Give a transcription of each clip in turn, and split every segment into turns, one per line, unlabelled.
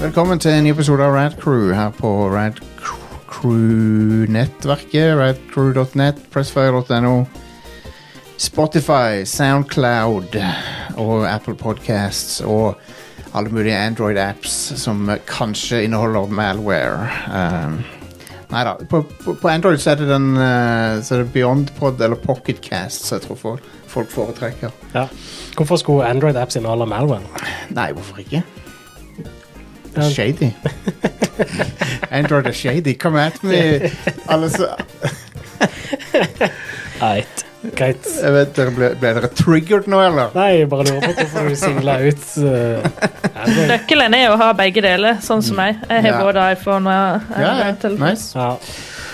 Velkommen til en ny episode av Rad Crew her på Rad Cr- Crew-nettverket. Radcrew.net, pressfire.no, Spotify, Soundcloud og Apple Podcasts og alle mulige Android-apps som kanskje inneholder malware. Um, Nei da. På, på, på Android så er det, den, eh, så er det BeyondPod eller Pocketcast som jeg tror folk, folk foretrekker.
Ja. Hvorfor skulle Android-apps inneholde malware?
Nei, hvorfor ikke? Det
Ja.
er shady. Android er shady. Come at me. Alle så,
Eit. Greit.
jeg vet, dere ble, ble dere triggered nå, eller?
Nei, jeg bare lurer på hvorfor du singla ut eh, Android.
Nøkkelen er å ha begge deler, sånn som meg. Jeg har
Mm. Ja.
både iPhone og
Ja, ja.
Android-telefon.
Nice.
Ja.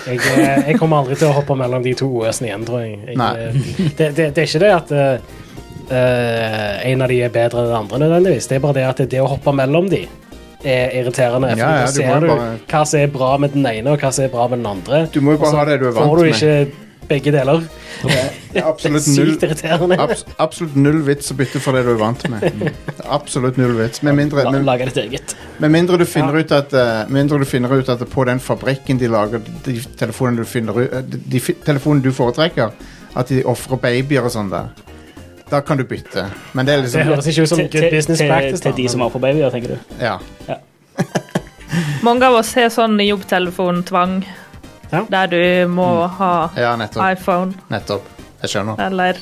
Jeg, eh, jeg kommer aldri til å hoppe mellom de to OS-ene igjen, tror jeg. jeg
Nei.
eh, det, det, det er ikke det at eh, eh, en av de er bedre enn den andre, nødvendigvis. Det er bare det at det å hoppe mellom de er irriterende. For
Ja, ja, du må
da ser
jo
du
bare-
hva som er bra med den ene, og hva som er bra med den andre.
Du må jo
Og så
bare ha det du er vant
Får du
med.
ikke begge deler?
Det er
Det er
Absolutt null,
sykt irriterende.
abs, absolutt null vits å bytte for det du er vant med. Det er Absolutt null vits. Med mindre, med,
Lage ditt eget.
med mindre du finner ut at eh, mindre du finner ut at på den fabrikken de lager de telefonene du, finner, ut- eh, de, de fi- telefonene du foretrekker, at de ofrer babyer og sånn der. Da kan du bytte. Men det er
Det
liksom
høres ikke ut som
Til-
good business
til,
practice.
Til, til de som har på babyer, tenker du.
Ja.
Mange av oss har sånn jobbtelefon-tvang,
Ja.
der du må ha
Mm. Ja, nettopp.
iPhone
Nettopp. Jeg skjønner.
eller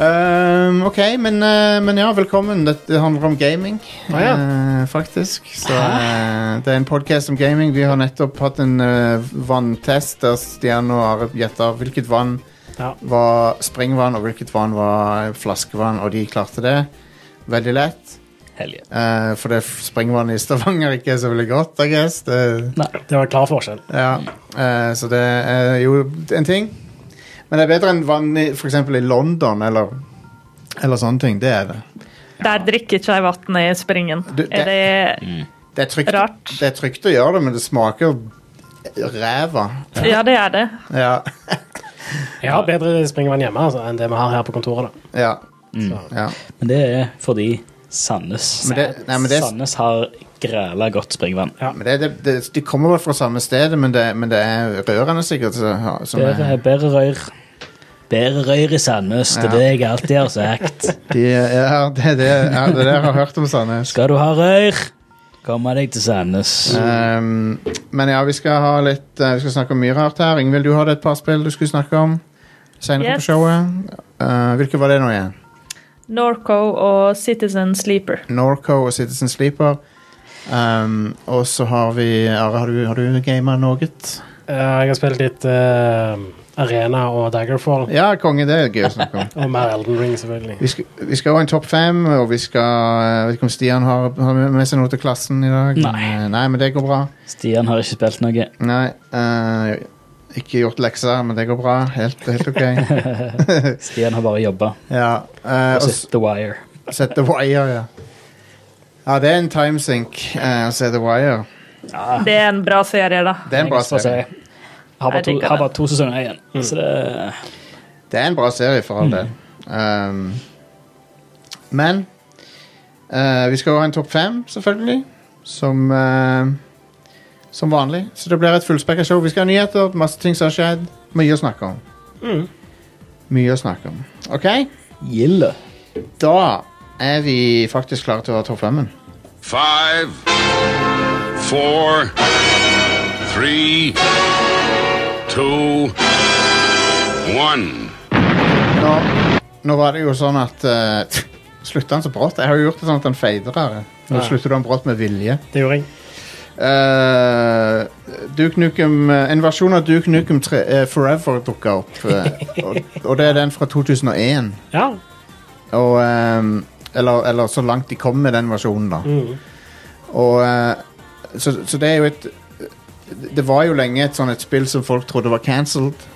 Ehm, ok, men, eh, men ja, velkommen. Dette handler om gaming,
Ah, ja.
eh, faktisk. Så eh, det er en podkast om gaming. Vi har nettopp hatt en eh, vanntest der Stian og Are gjetta hvilket vann
Ja.
var springvann, og hvilket vann var flaskevann, og de klarte det. Veldig lett.
Helge.
Eh, for det springvannet i Stavanger ikke er så veldig godt, I guess. Det,
Det var en klar forskjell.
Ja, eh, så det er jo en ting. Men det er bedre enn vann i f.eks. i London eller, eller sånne ting. Det er det.
Der drikker ikke jeg vann i springen.
Du,
Er det
Det er trygt,
Rart.
det er trygt å gjøre det, men det smaker ræva.
Ja, det er det.
Ja.
Jeg har bedre springvann hjemme altså, enn det vi har her på kontoret. da.
ja,
Mm.
ja.
Men det er fordi Sandnes
Men det- nei, men det-
Sandnes har græla godt springvann.
Men det, det, det, de kommer vel fra samme sted, men det, men det er rørene sikkert. så- ja, Som
Bedre,
er,
bedre røyr. Bedre røyr i Sandnes, det er det jeg alltid har sagt.
de, ja, det er det, ja, det er det jeg har hørt om Sandnes.
Skal du ha røyr, komme deg til Sandnes.
Um, men ja, vi skal, ha litt, eh, vi skal snakke om mye rart her. Ingvild, du hadde et par spill du skulle snakke om senere
Yes.
på showet. Eh, hvilke var det nå igjen?
Norco og Citizen Sleeper.
Norco og Citizen Sleeper. Um, og så har vi Are, har du, har du gama noe?
Eh, Jeg har spilt litt eh, Arena og Daggerfall,
Ja, konge, det er gøy å snakke om.
og mer Elden Ring, selvfølgelig.
Vi skal, vi skal ha en topp fem, og vi skal eh, Jeg vet ikke om Stian har, har med seg noe til klassen i dag. Eh,
Nei.
Nei men det går bra.
Stian har ikke spilt noe.
Nei. eh, ikke gjort lekser, men det går bra. Helt, helt ok.
Stian har bare jobba.
Ja. eh, og
Og
s-
sett The Wire.
Sett The Wire, ja. Ja, det er en timesink eh, å se The Wire. Ah.
Det er en bra serie, da.
Det er en bra serie.
Har bare,
Jeg
to, Mm.
digger
har
det.
bare to sesonger igjen. Så det
Det er en bra serie, for all del. Um, men eh, vi skal jo ha en topp fem, selvfølgelig. Som eh, som vanlig. Så det blir et fullspekka show. Vi skal ha nyheter, masse ting som har skjedd. Mye å snakke om. Mm. Mye å snakke om. OK?
Gilde.
Da er vi faktisk klare til å ha topp femmen.
Five, four, three, two, one.
Nå, nå var det jo sånn at uh, Slutta han så brått? Jeg har jo gjort det sånn at han fader her. Nå
Ja.
slutter du han brått med vilje.
Det gjorde jeg.
Eh, Duke Nukem, eh, en versjon av Duke Nukem 3, eh, Forever dukka opp. eh, og, og det er den fra 2001.
Ja.
Og, ehm, eller, eller så langt de kom med den versjonen, da.
Mm.
Og, eh, så, så det er jo et Det var jo lenge et sånn et spill som folk trodde var cancelled.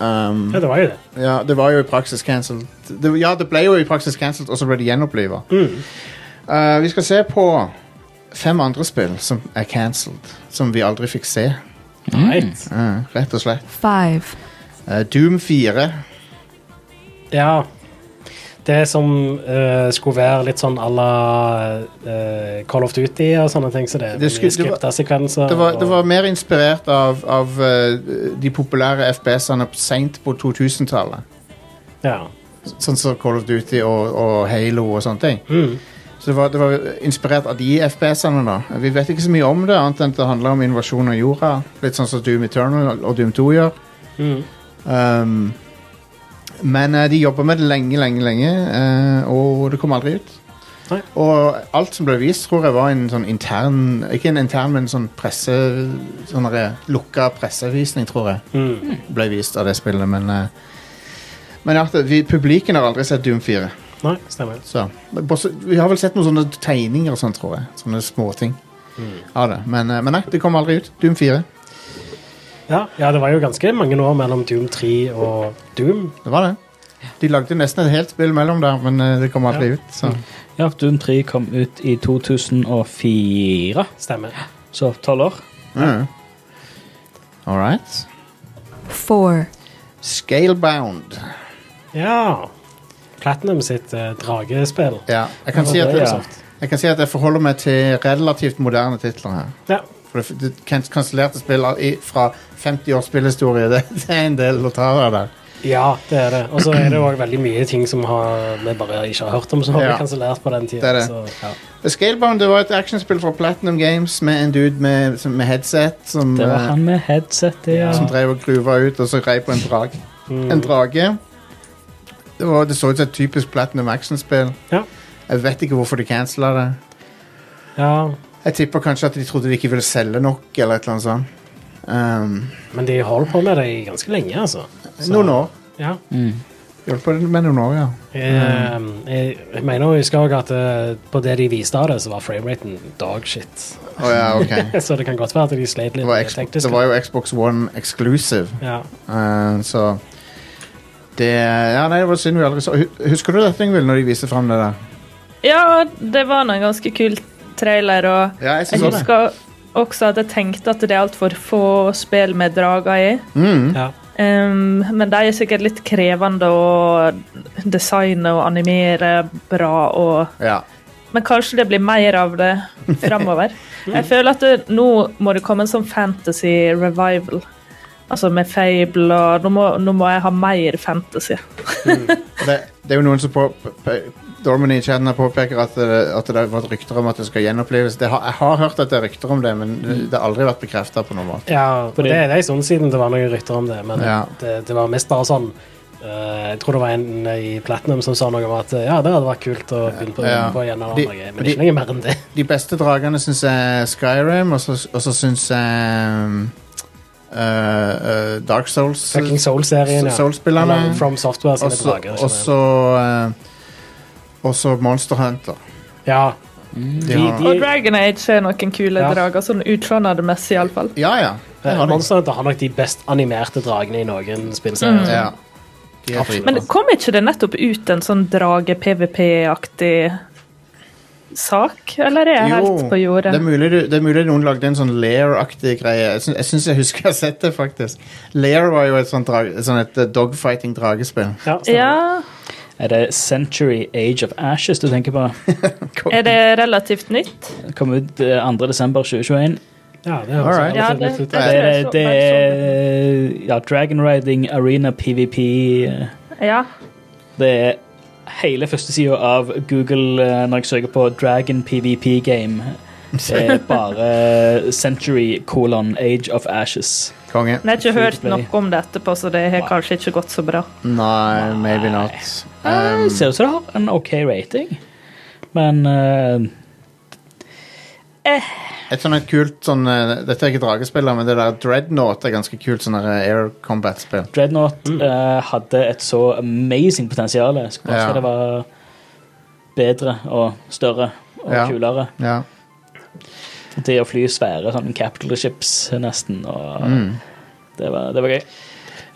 Um,
ja, det var jo det.
ja, det var jo i praksis cancelled. Det, ja, det ble jo i praksis cancelled, og så ble det gjenoppliva.
Mm.
Eh, vi skal se på fem andre spill som er cancelled, som vi aldri fikk se.
Right.
Eh, rett og slett. Eh, Doom 4.
Ja. Det som eh, skulle være litt sånn à la eh, Call of Duty og sånne ting. Så det,
Det skulle- det var-
skripta sekvenser.
Det var,
og-
det var mer inspirert av, av eh, de populære FPS-ene seint på 2000-tallet.
ja.
Sånn som Call of Duty og, og Halo og sånne ting.
Mm.
Så det var, det var inspirert av de FPS-ene. da Vi vet ikke så mye om det, annet enn at det handler om invasjon av jorda. Litt sånn som Doom Eternal og Doom 2 gjør.
Mm.
Um, men eh, de jobba med det lenge, lenge, lenge, eh, og det kom aldri ut.
Nei.
Og alt som ble vist, tror jeg var en sånn intern Ikke en intern, men en sånn presse Sånn der lukka pressevisning, tror jeg,
Mm.
ble vist av det spillet. Men, eh, men at vi, publiken har aldri sett Doom 4.
Nei, stemmer.
Så. Men bortsett- Vi har vel sett noen sånne tegninger og sånn, tror jeg. Sånne småting av det. Men, eh, men nei, det kom aldri ut. Doom 4.
Ja, ja, det var jo ganske mange år mellom Doom 3 og Doom.
Det var det. De lagde nesten et helt spill mellom der, men eh, det kom aldri ut. Så.
Ja, Doom 3 kom ut i 2004,
Stemmer.
så tolv år.
Mm. All right.
four,
Scalebound.
Ja. Platinum sitt eh, dragespill.
Ja, jeg kan, si
Ja,
at
det er
jeg, kan si at jeg forholder meg til relativt moderne titler her.
Ja.
For det, det kans- kansellerte spill av- i- fra 50 års spillhistorie, det, det er en del å ta av der.
ja, det er det. Og så er det òg veldig mye ting som har, vi bare ikke har hørt om, som har
Ja.
blitt kansellert på den
Det er
tida.
det.
Så, ja.
Scalebound det var et actionspill fra Platinum Games med en dude med, som- med headset som,
Det var
eh,
han med headset, det, altså. ja.
som drev og gruva ut, og så rei på en, drag.
Mm.
en drage. Det, var, det så ut som et typisk Platinum actionspill.
Ja.
Jeg vet ikke hvorfor de cancela det.
ja.
Jeg tipper kanskje at de trodde de ikke ville selge nok, eller et eller annet sånt. Um,
Men de holdt på med det i ganske lenge, altså. Så-
noen år.
Ja.
Mm.
De holdt på med noen år, ja.
Mm. Jeg, jeg, eh, jeg mener å huske også at eh, på det de viste av det, så var frameraten dogshit.
Å ja, ok.
så det kan godt være at de slet
Det
litt
var,
med
Xbox-
teknisk.
det var jo Xbox One exclusive,
Ja.
uh, så det Ja, nei, det var synd vi aldri så Hu- Husker du det, Yngvild, når de viste fram det der?
Ja, det var nå en ganske kul trailer, og
Ja, jeg
jeg
synes det.
husker også at jeg tenkte at det er altfor få spill med drager i.
Mm.
Ja.
Ehm, men de er sikkert litt krevende å designe og animere bra. Og,
Ja.
men kanskje det blir mer av det framover. Jeg føler at det, nå må det komme en sånn fantasy revival. Altså med Fable og Nå må, nå må jeg ha mer fantasy.
Det, det er jo noen som på, på Dorman i chatten her påpeker at det, at det har vært rykter om at det skal gjenoppleves. Det har, jeg har hørt at det er rykter om det, men det, det har aldri vært bekrefta på noen måte.
Ja, for det, det er en stund siden det var noen rykter om det, men
Ja.
det, det var mest bare sånn eh, Jeg tror det var en eh, i Platinum som sa noe om at eh, ja, det hadde vært kult å begynne på,
Ja.
på igjen, eller
De-
noe,
de-
men ikke noe mer enn det.
De beste dragene syns jeg er Skyrim, og så, og så syns jeg um, uh, uh, Dark Souls.
Fucking Soul-serien, ja.
Soul-spillerne.
Eller From Software
Og
sine
så-
drager.
og
generelt.
så uh, og så Monster Hunter.
Ja, eh,
De
Mm. de,
har,
Og
de,
Dragon Age er noen kule
Ja.
drager, sånn utsjåendemessig iallfall.
ja, ja. Det
eh,
har de.
Monster Hunter har nok de best animerte dragene i noen spillserier.
Mm. Ja. De er
Absolutt.
dritbra.
Men kom ikke det nettopp ut en sånn drage-PVP-aktig sak? Eller er jeg helt på jordet?
det er, mulig, du- det er mulig noen lagde en sånn Lair-aktig greie. Jeg syns- Jeg syns jeg husker jeg har sett det, faktisk. Lair var jo et sånt, drag, sånn et eh, dogfighting-dragespill.
Ja, stemmer.
Ja,
Er det Century Age of Ashes du tenker på?
er det relativt nytt?
Kom ut eh, 2. desember 2021.
ja, det høres
Alright.
Ja,
relativt
det,
nytt
det,
ut.
Det
tror jeg
er,
så-
det
jeg så
er ja, Dragon Riding Arena PVP. eh,
det. Ja.
Det er hele førstesida av Google eh, når jeg søker på Dragon PVP Game. Det er bare Century colon Age of Ashes.
Konge.
Men jeg har ikke hørt
Free to play.
noe om det etterpå, så det har kanskje ikke gått så bra.
Nei, maybe not.
Ah.
Eh,
Um,
Det ser ut som det har en OK rating, men eh,
Et sånn et kult sånn eh, Dette er ikke dragespiller, men det der Dreadnought er ganske kult sånn der, eh, air combat-spill.
Dreadnought
Mm.
eh, hadde et så amazing potensial. Jeg Skulle ønske
Ja.
det var bedre og større og
Ja.
kulere.
Ja.
Til å fly svære sånn capital ships, nesten. Og
Mm.
det, var, det var gøy.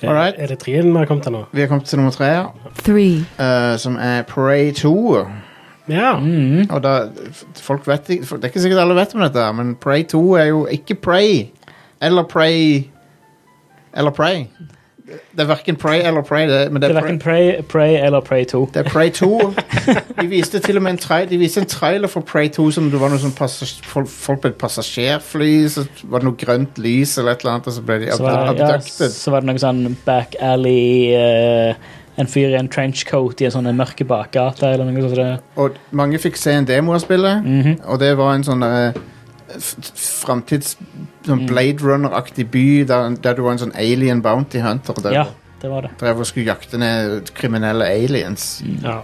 All right.
Er det trien vi har kommet til nå?
Vi er kommet til nummer tre, her,
three,
eh, som er Prey 2.
Ja.
Mm.
Og da, f- folk vet, ikke- folk- det er ikke sikkert alle vet om dette, her, men Prey 2 er jo ikke Prey. Eller Prey Eller Prey. Det er verken Prey eller Prey, det, men det
Det
er,
er verken
Prey,
Prey, Prey eller Prey 2.
det er Prey 2. De viste til og med en, tra de viste en trailer for Prey 2 som det var noe sånn passas- fol- folk på et passasjerfly, så var det noe grønt lys eller et eller annet, og så ble de
Så var,
abdu-
det- ja,
abducted.
så var det noe sånn back alley eh, En fyr i en trenchcoat i en sånn mørke bakgate eller noe sånt. som det.
Og mange fikk se en demo av spillet,
Mhm.
og det var en sånn derre Framtids
Mm.
sånn Blade Runner-aktig by der, der du var en sånn alien bounty hunter der
Ja, det var det.
du drev og skulle jakte ned kriminelle aliens.
Mm.
Ja.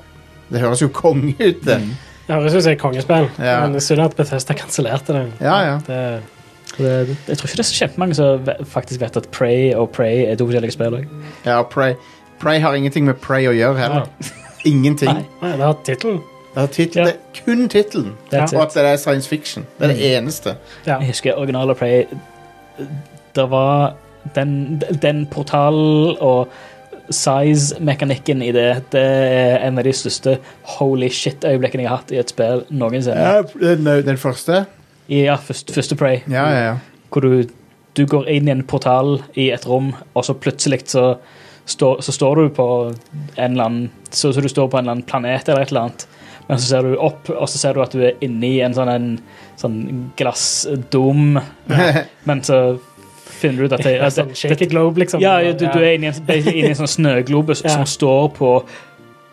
Det høres jo konge ut, det.
Ja, det synes jeg er kongespill.
Ja.
Men det er synd at Bethesda kansellerte det.
Ja, ja.
Det,
Det, det. Jeg tror ikke det er så kjempemange som ve- faktisk vet at Prey og Prey er to forskjellige spill. også.
Ja, Prey, Prey har ingenting med Prey å gjøre heller. Ingenting.
Nei,
nei, det har tittelen.
Det er, titel,
Ja.
det er kun tittelen,
that's
og
it.
at det er science fiction. Det er det eneste.
Ja.
Jeg husker originale Prey. Det var den, den portalen og size-mekanikken i det. Det er en av de største holy shit-øyeblikkene jeg har hatt i et spill noensinne.
Ja, den, den første?
Ja, først, første Prey.
Ja, ja, ja.
hvor du, du går inn i en portal i et rom, og så plutselig så, står- så står du på en eller annen så, så du står på en eller annen planet eller et eller annet. Men så ser du opp, og så ser du at du er inni en sånn, en, sånn glassdom. Men så finner du ut at det,
Det er
at
sånn
det,
Shake it globe, liksom.
ja, du, du er inni en, basically inni en sånn snøglobus
Ja.
som står på,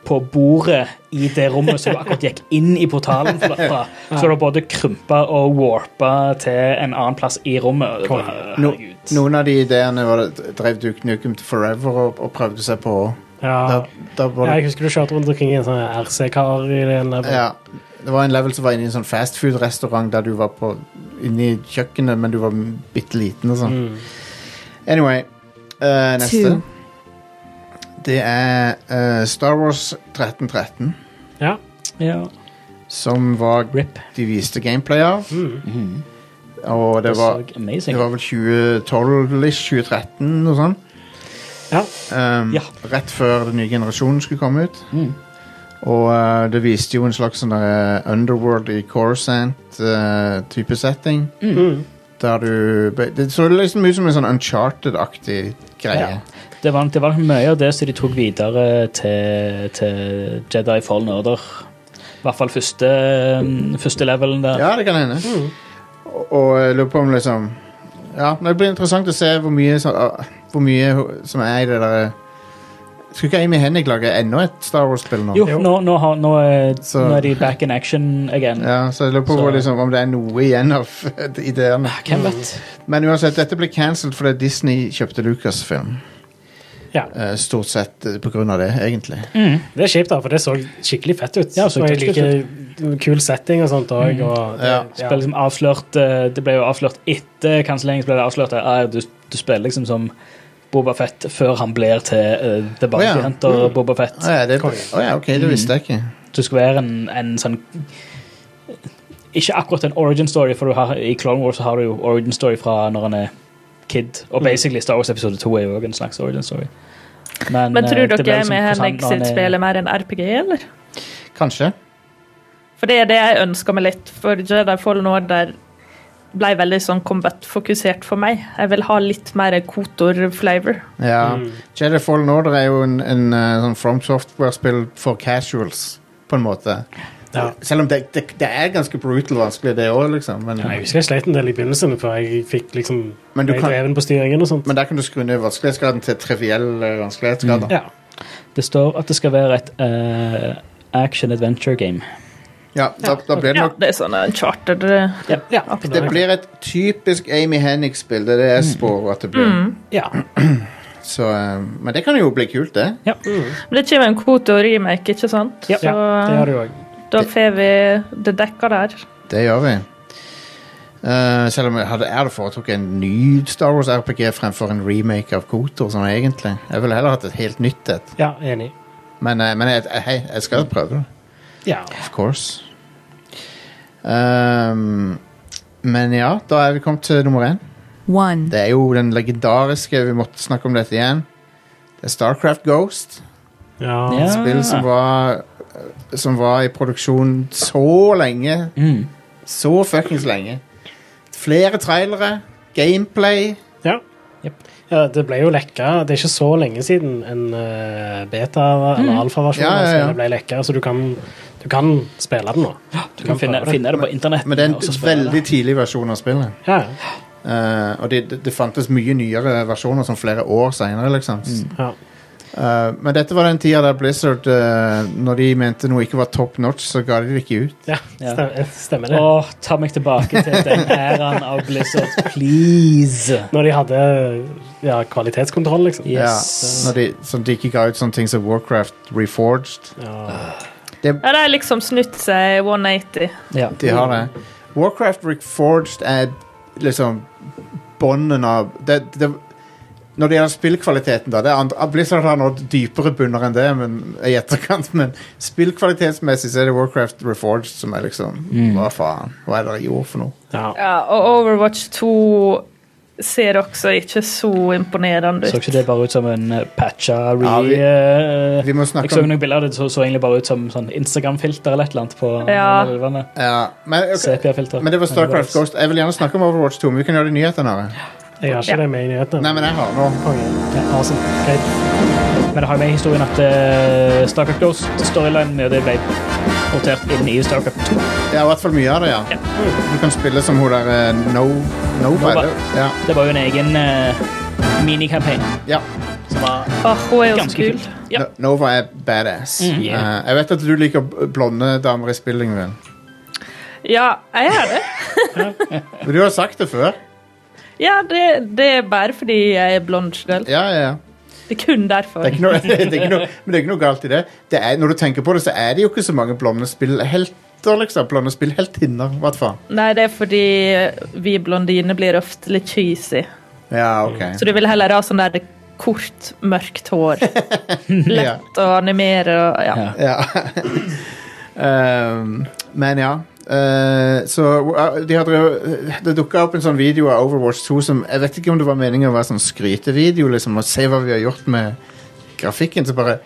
på bordet i det rommet som du akkurat gikk inn i portalen fra. fra. Så du har både krympa og warpa til en annen plass i rommet. Og det bare,
No,
herregud.
noen av de ideene var det, drev Duke Nukem til Forever og, og prøvde seg på.
Ja.
Da, da var
Ja,
det,
jeg husker du kjørte rundt omkring i en sånn RC-kar i den der-
ja, det var en level som var inne i en sånn fastfood-restaurant der du var på, inne i kjøkkenet, men du var bitte liten og sånn.
Mm.
Anyway, eh, neste.
Two.
Det er eh, Star Wars 1313,
Ja.
Ja.
som var
Rip.
de viste gameplay av.
Mm.
Og Mhm. det var,
så
det
amazing.
var vel 2012-ish, 2013 og sånn.
ja.
Um,
Ja.
Rett før den nye generasjonen skulle komme ut.
Mm.
Og eh, det viste jo en slags sånn der, eh, underworld i Corsant-type setting.
Mm.
Der du Det så liksom ut som en sånn Uncharted-aktig greie.
Ja. Det var, det var mye av det som de tok videre til, til Jedi Fallen Order. I hvert fall første, mm, første levelen
Ja,
der.
det kan hende. Og, og jeg lurer på om liksom Ja, men det blir interessant å se hvor mye, sånn, ah, hvor mye ho- som er i det der eh, Skulle ikke Amy Hennig lage enda et Star Wars-spill nå?
Jo, nå, nå, har, nå, er,
Så-
nå er de back in action again.
Ja, så jeg lurer på
Så-
hvor, liksom, om det er noe igjen av ideene.
Mm.
Hvem vet?
Men uansett, dette ble cancelled fordi Disney kjøpte Lucasfilm.
Ja.
Eh, Stort sett eh, på grunn av det, egentlig.
Mm.
Det er kjipt, da, for det så skikkelig fett ut.
Ja,
Ja,
så
og jeg
skikkelig Mm.
liker kul setting og sånt òg. Og det,
Ja.
Det ble liksom avslørt eh, Det ble jo avslørt etter kanselleringen. så ble det avslørt at ah, du, du spiller liksom som Boba Fett før han blir til eh, The Bounty
Å, ja.
Hunter Boba Fett.
Å ja, det,
Konge. Mm.
å ja, ok, det visste jeg ikke.
Du skal være en, en sånn Ikke akkurat en origin story, for du har, i Clone Wars så har du jo origin story fra når han er kid.
Mm.
Og basically Star Wars episode 2 er jo også en slags origin story.
Men
eh,
tror
det ble
dere
liksom
med
hvordan
Henrik
han
sitt
er-
spill er mer en RPG, eller?
Kanskje.
For det er det jeg ønsker meg litt, for Jedi Fallen Order ble veldig sånn combat-fokusert for meg. Jeg vil ha litt mer Kotor-flavor.
Ja.
Mm.
Jedi Fallen Order er jo en, en eh, sånn From Software-spill for casuals, på en måte.
Ja.
Selv om det, det, det er ganske brutal vanskelig, det òg, liksom. Men,
Ja, jeg husker jeg sleit en del i begynnelsen, for jeg fikk liksom
Men du
ble
kan-
dreven på styringen og sånt.
men der kan du skru ned vanskelighetsgraden til triviell eh, vanskelighetsgrad. da.
ja.
Det står at det skal være et eh, action-adventure-game.
Ja, da, da blir det
Ja,
nok
det er sånn en charter
Ja. Ja.
Det Mm. blir et typisk Amy Hennig-spill. Det er det jeg spår at det blir.
ja.
Så, eh, men det kan jo bli kult, det.
Men det kommer en Kotor-remake, ikke sant?
Ja,
Så
det har du òg.
da får vi det dekka der.
Det gjør vi. Eh, selv om jeg hadde, jeg hadde foretrukket en ny Star Wars RPG fremfor en remake av Kotor. Sånn, egentlig. Jeg ville heller hatt et helt nytt et.
Ja, enig.
Men, eh, men jeg, jeg, hei, jeg skal prøve det.
Ja.
Mm. Of course. Ehm, men ja, da er vi kommet til nummer én.
One.
Det er jo den legendariske Vi måtte snakke om dette igjen. Det er Starcraft Ghost.
Ja.
Ja.
Et spill
Ah.
som var eh, Som var i produksjon så lenge.
Mm.
Så fuckings lenge. Flere trailere, gameplay
ja.
Jep.
Ja, det ble jo lekka. Det er ikke så lenge siden en eh, beta- eller alfaversjon
Ja, ja,
av
ja.
spillet ble lekka, så du kan, du kan spille det nå.
Du kan finne,
prøve det.
finne det på internett.
Men det er
og så
en
spille det.
veldig tidlig versjon av spillet.
Ja,
Eh, og det, det, det fantes mye nyere versjoner som flere år seinere, liksom.
Mm.
ja.
Eh, men dette var den tida der Blizzard, eh, når de mente noe ikke var top notch, så ga de det ikke ut.
ja
Ja.
stemmer, stemmer det.
Åh, ta meg tilbake til den æraen av Blizzard, please!
Når de hadde ja, kvalitetskontroll, liksom.
Yes.
Ja, når de, så de ikke ga ut sånne ting som Warcraft Reforged.
Ja.
Ja, det er liksom snutt seg 180.
Ja.
De har det. Warcraft Reforged er liksom bånden av det, det, Når det gjelder spillkvaliteten, da det er andre, Blizzard har nådd dypere bunner enn det men, i etterkant, men spillkvalitetsmessig så er det Warcraft Reforged som er liksom Hva faen? Hva er det dere gjorde for noe?
Ja.
Ja, og Overwatch 2 ser også ikke så imponerende ut.
Så ikke det bare ut som en eh, patcha re...
Ja, vi-
eh,
Vi må
jeg
snakke
så
om
noen bilder av det, så, så egentlig bare ut som sånn Instagram-filter eller et eller annet på
Ja.
noen av elvene.
ja, men, ok,
Sepia-filter.
men det var Starcraft Ghost. Jeg vil gjerne snakke om Overwatch 2, men vi kan gjøre det i nyhetene. Are.
Jeg har ikke
Ja.
det med i nyhetene.
Nei, men jeg har nå.
Konge. Ja, awesome. Greit.
Men det har jo med i historien at eh, Starcraft Ghost storyline med det ble rotert inn i Starcraft 2.
Ja, i hvert fall mye av det, ja. Du kan spille som hun der eh, No... Nova.
Nova.
Ja.
Det var jo en egen uh, minikampanje
ja.
som var
Åh, Ah, hun er jo så
ganske
kul.
kul. Ja.
No- Nova er badass.
Mm,
yeah.
Eh, jeg vet at du liker b- blonde damer i spill, Ingvild.
Ja, jeg er det.
Men Du har sagt det før.
Ja, det, det er bare fordi jeg er blond selv.
Ja, ja, ja.
Det er kun derfor.
Det er ikke noe, det er ikke noe, men det er ikke noe galt i det. det er, når du tenker på det, så er det jo ikke så mange blonde spillhelter, liksom. Blonde spillheltinner, i hvert fall.
Nei, det er fordi vi blondiner blir ofte litt cheesy.
Ja, ok.
Så du vil heller ha sånn der kort, mørkt hår.
Ja.
Lett å animere og ja.
Ja.
ja. Ehm, men ja. Eh, så eh, de hadde, det dukka opp en sånn video av Overwatch 2 som Jeg vet ikke om det var meningen å være sånn skrytevideo, liksom, og se hva vi har gjort med grafikken. Så bare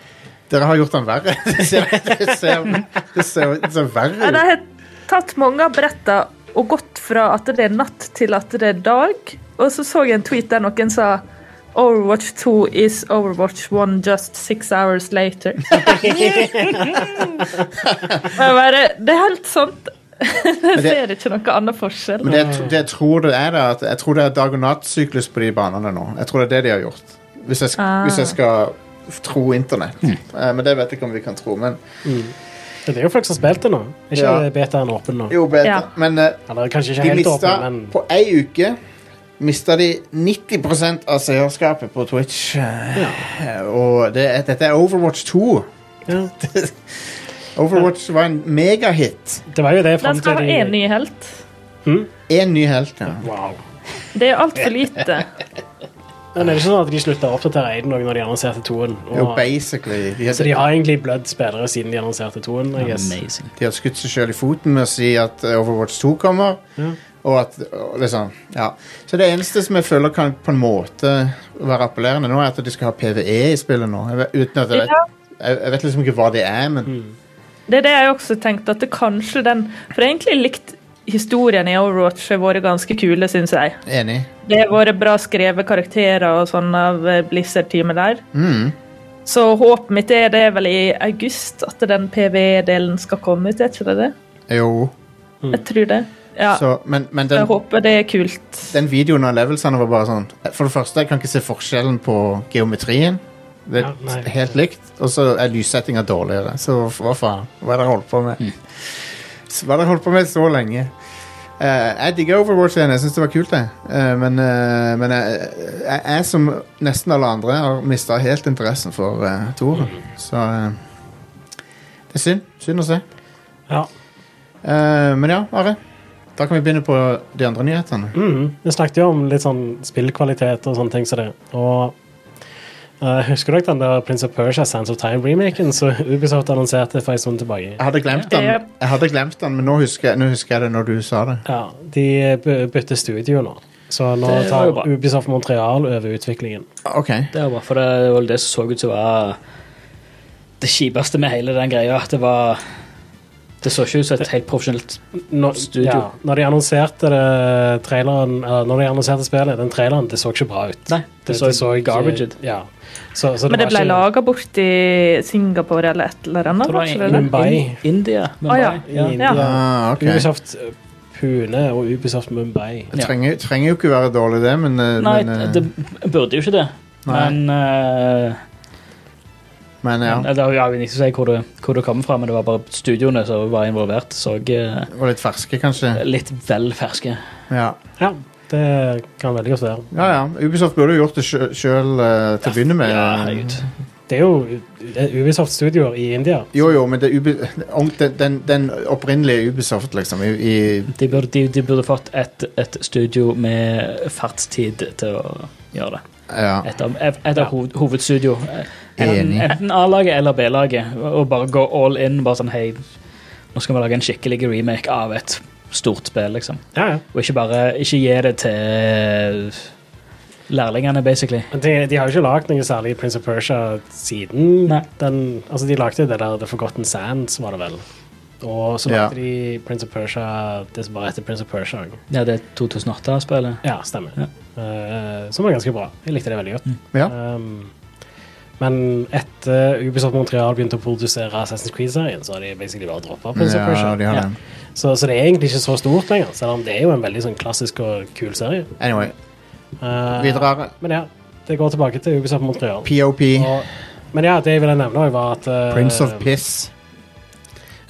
Dere har gjort den verre. det ser, det ser, det ser, det ser verre
Ja, De
ut.
har tatt mange av bretta og gått fra at det er natt til at det er dag. Og så så jeg en tweet der noen sa Overwatch 2 is Overwatch 1 just six hours later. Og jeg bare, det er helt sant. Jeg
det-
ser ikke noe annen forskjell.
Men det, jeg tr- det jeg tror det er, da, at jeg tror det er dag- og nattsyklus på de banene nå. Jeg tror det er det de har gjort. Hvis jeg, sk- hvis jeg skal f- tro internett. Eh, men det vet jeg ikke om vi kan tro. Men
Det er jo folk som har spilt det nå. Er ikke
Ja.
betaen åpen nå?
jo, beta.
Ja.
Men eh,
Eller kanskje ikke
De
helt
mista,
åpen, men
På ei uke mista de 90 av seerskapet på Twitch. Eh, Og det, er- dette er Overwatch 2.
ja.
Overwatch var en megahit.
det var jo det
Den
fram
skal
til
ha én ny helt.
Én ny helt, ja.
Wow.
Det er altfor lite.
Men er det ikke sånn at de slutta å oppdatere Aiden også når de annonserte toen?
Jo,
Og-
basically. De,
Så de har egentlig blødd spillere siden de annonserte toen? I guess.
Amazing.
de har skutt seg sjøl i foten med å si at eh, Overwatch 2 kommer. Og at og liksom, ja. Så det eneste som jeg føler kan på en måte være appellerende nå, er at de skal ha PVE i spillet nå. Jeg vet, uten at jeg vet, jeg, jeg vet liksom ikke hva det er, men
Mm.
Det er det jeg også tenkte, at det kanskje den For egentlig likt historien i Overwatch har vært ganske kule, syns jeg.
enig.
Det har vært bra skrevet karakterer og sånn av eh, Blizzard-teamet der.
Mm.
Så håpet mitt er det er vel i august at den PVE-delen skal komme ut, er ikke det det?
Jo.
Jeg tror det. Ja,
Mm. Så, men, men
jeg
den,
håper det er kult.
den videoen av levelsene var bare sånn For det første, jeg kan ikke se forskjellen på geometrien. Det er
Ja, nei.
helt likt. Og så er lyssettinga dårligere. Så hva faen? Hva er det dere holdt på med? Så Hva er det dere holdt på med så lenge? Eh, jeg digger Overwatch igjen. Jeg syns det var kult, jeg. Eh, men eh, men jeg, jeg, jeg, som nesten alle andre, har mista helt interessen for uh, Toren. Så eh, det er synd. Synd å se.
Ja.
Eh, men ja, Are. Da kan vi begynne på de andre nyhetene.
Mm. Vi snakket jo om litt sånn spillkvalitet og sånne ting som det. Og eh, husker dere den der Prince of Persia Sands of Time-remaken som Ubisoft annonserte for en stund tilbake?
Jeg hadde glemt den,
Yep.
jeg hadde glemt den men nå husker, jeg, nå husker jeg det når du sa det.
Ja, De by- bytter studio nå. Så nå
Det var jo bra.
tar Ubisoft Montreal over utviklingen.
Ok.
Det var for det var vel det som så ut som var det kjipeste med hele den greia, at det var Det så ikke ut som et helt profesjonelt
Når,
Studio.
Ja, når de annonserte det, traileren, eller når de annonserte spillet, den traileren, det så ikke bra ut.
Nei, det, så,
ikke-
garbage ut.
Ja. Så, så
Men det
var
ble
ikke-
laga bort i Singapore eller et eller annet?
Det var
var ikke det det?
Mumbai.
India.
Å, ja.
I India.
Ah, ok.
Ubisoft eh, Pune og Ubisoft Mumbai.
Det
Ja.
trenger, trenger jo ikke være dårlig, det, men, eh,
Nei,
men, eh,
det burde jo ikke det.
Nei.
Men eh,
men ja.
men Det er jo jeg vil ikke si hvor det, hvor det kommer fra, men det var bare studioene som var involvert. Så eh,
Og litt ferske, kanskje.
litt vel ferske.
Ja.
Ja, det kan veldig godt være.
ja ja. Ubisoft burde jo gjort det sjøl eh, til å begynne med.
Ja, herregud.
Det er jo eh, Ubisoft Studioer i India.
Jo, jo, men det er Ubi om- den, den, den opprinnelige Ubisoft, liksom, i, i
De burde, de, de burde fått et, et studio med fartstid til å gjøre det.
Ja.
Et av, et, et av hoved, hovedstudio. Enten,
Enig.
enten A-laget eller B-laget. Og bare gå all in. Bare sånn hei, nå skal vi lage en skikkelig remake av et stort spill, liksom.
Ja, ja.
Og ikke bare ikke gi det til lærlingene, basically.
Men De, de har jo ikke lagd noe særlig Prince of Persia siden
Nei.
den Altså, de lagde det der The Forgotten Sands, var det vel. Og så
Ja.
lagde de Prince of Persia det som bare heter Prince of Persia.
Ja, det 2008-spillet.
Ja, stemmer.
Ja.
Eh, som var ganske bra. Jeg likte det veldig godt.
ja.
Um, men etter Ubisoft Montreal begynte å produsere Assassin's Creed-serien, så har de basically bare droppa Prince of Persia.
ja, de har det.
Så, så det er egentlig ikke så stort lenger, selv om det er jo en veldig sånn klassisk og kul serie.
Anyway,
Eh,
vi drar
Men ja, det går tilbake til Ubisoft Montreal.
POP.
Og, men ja, det jeg ville nevne også var at eh,
Prince of Piss.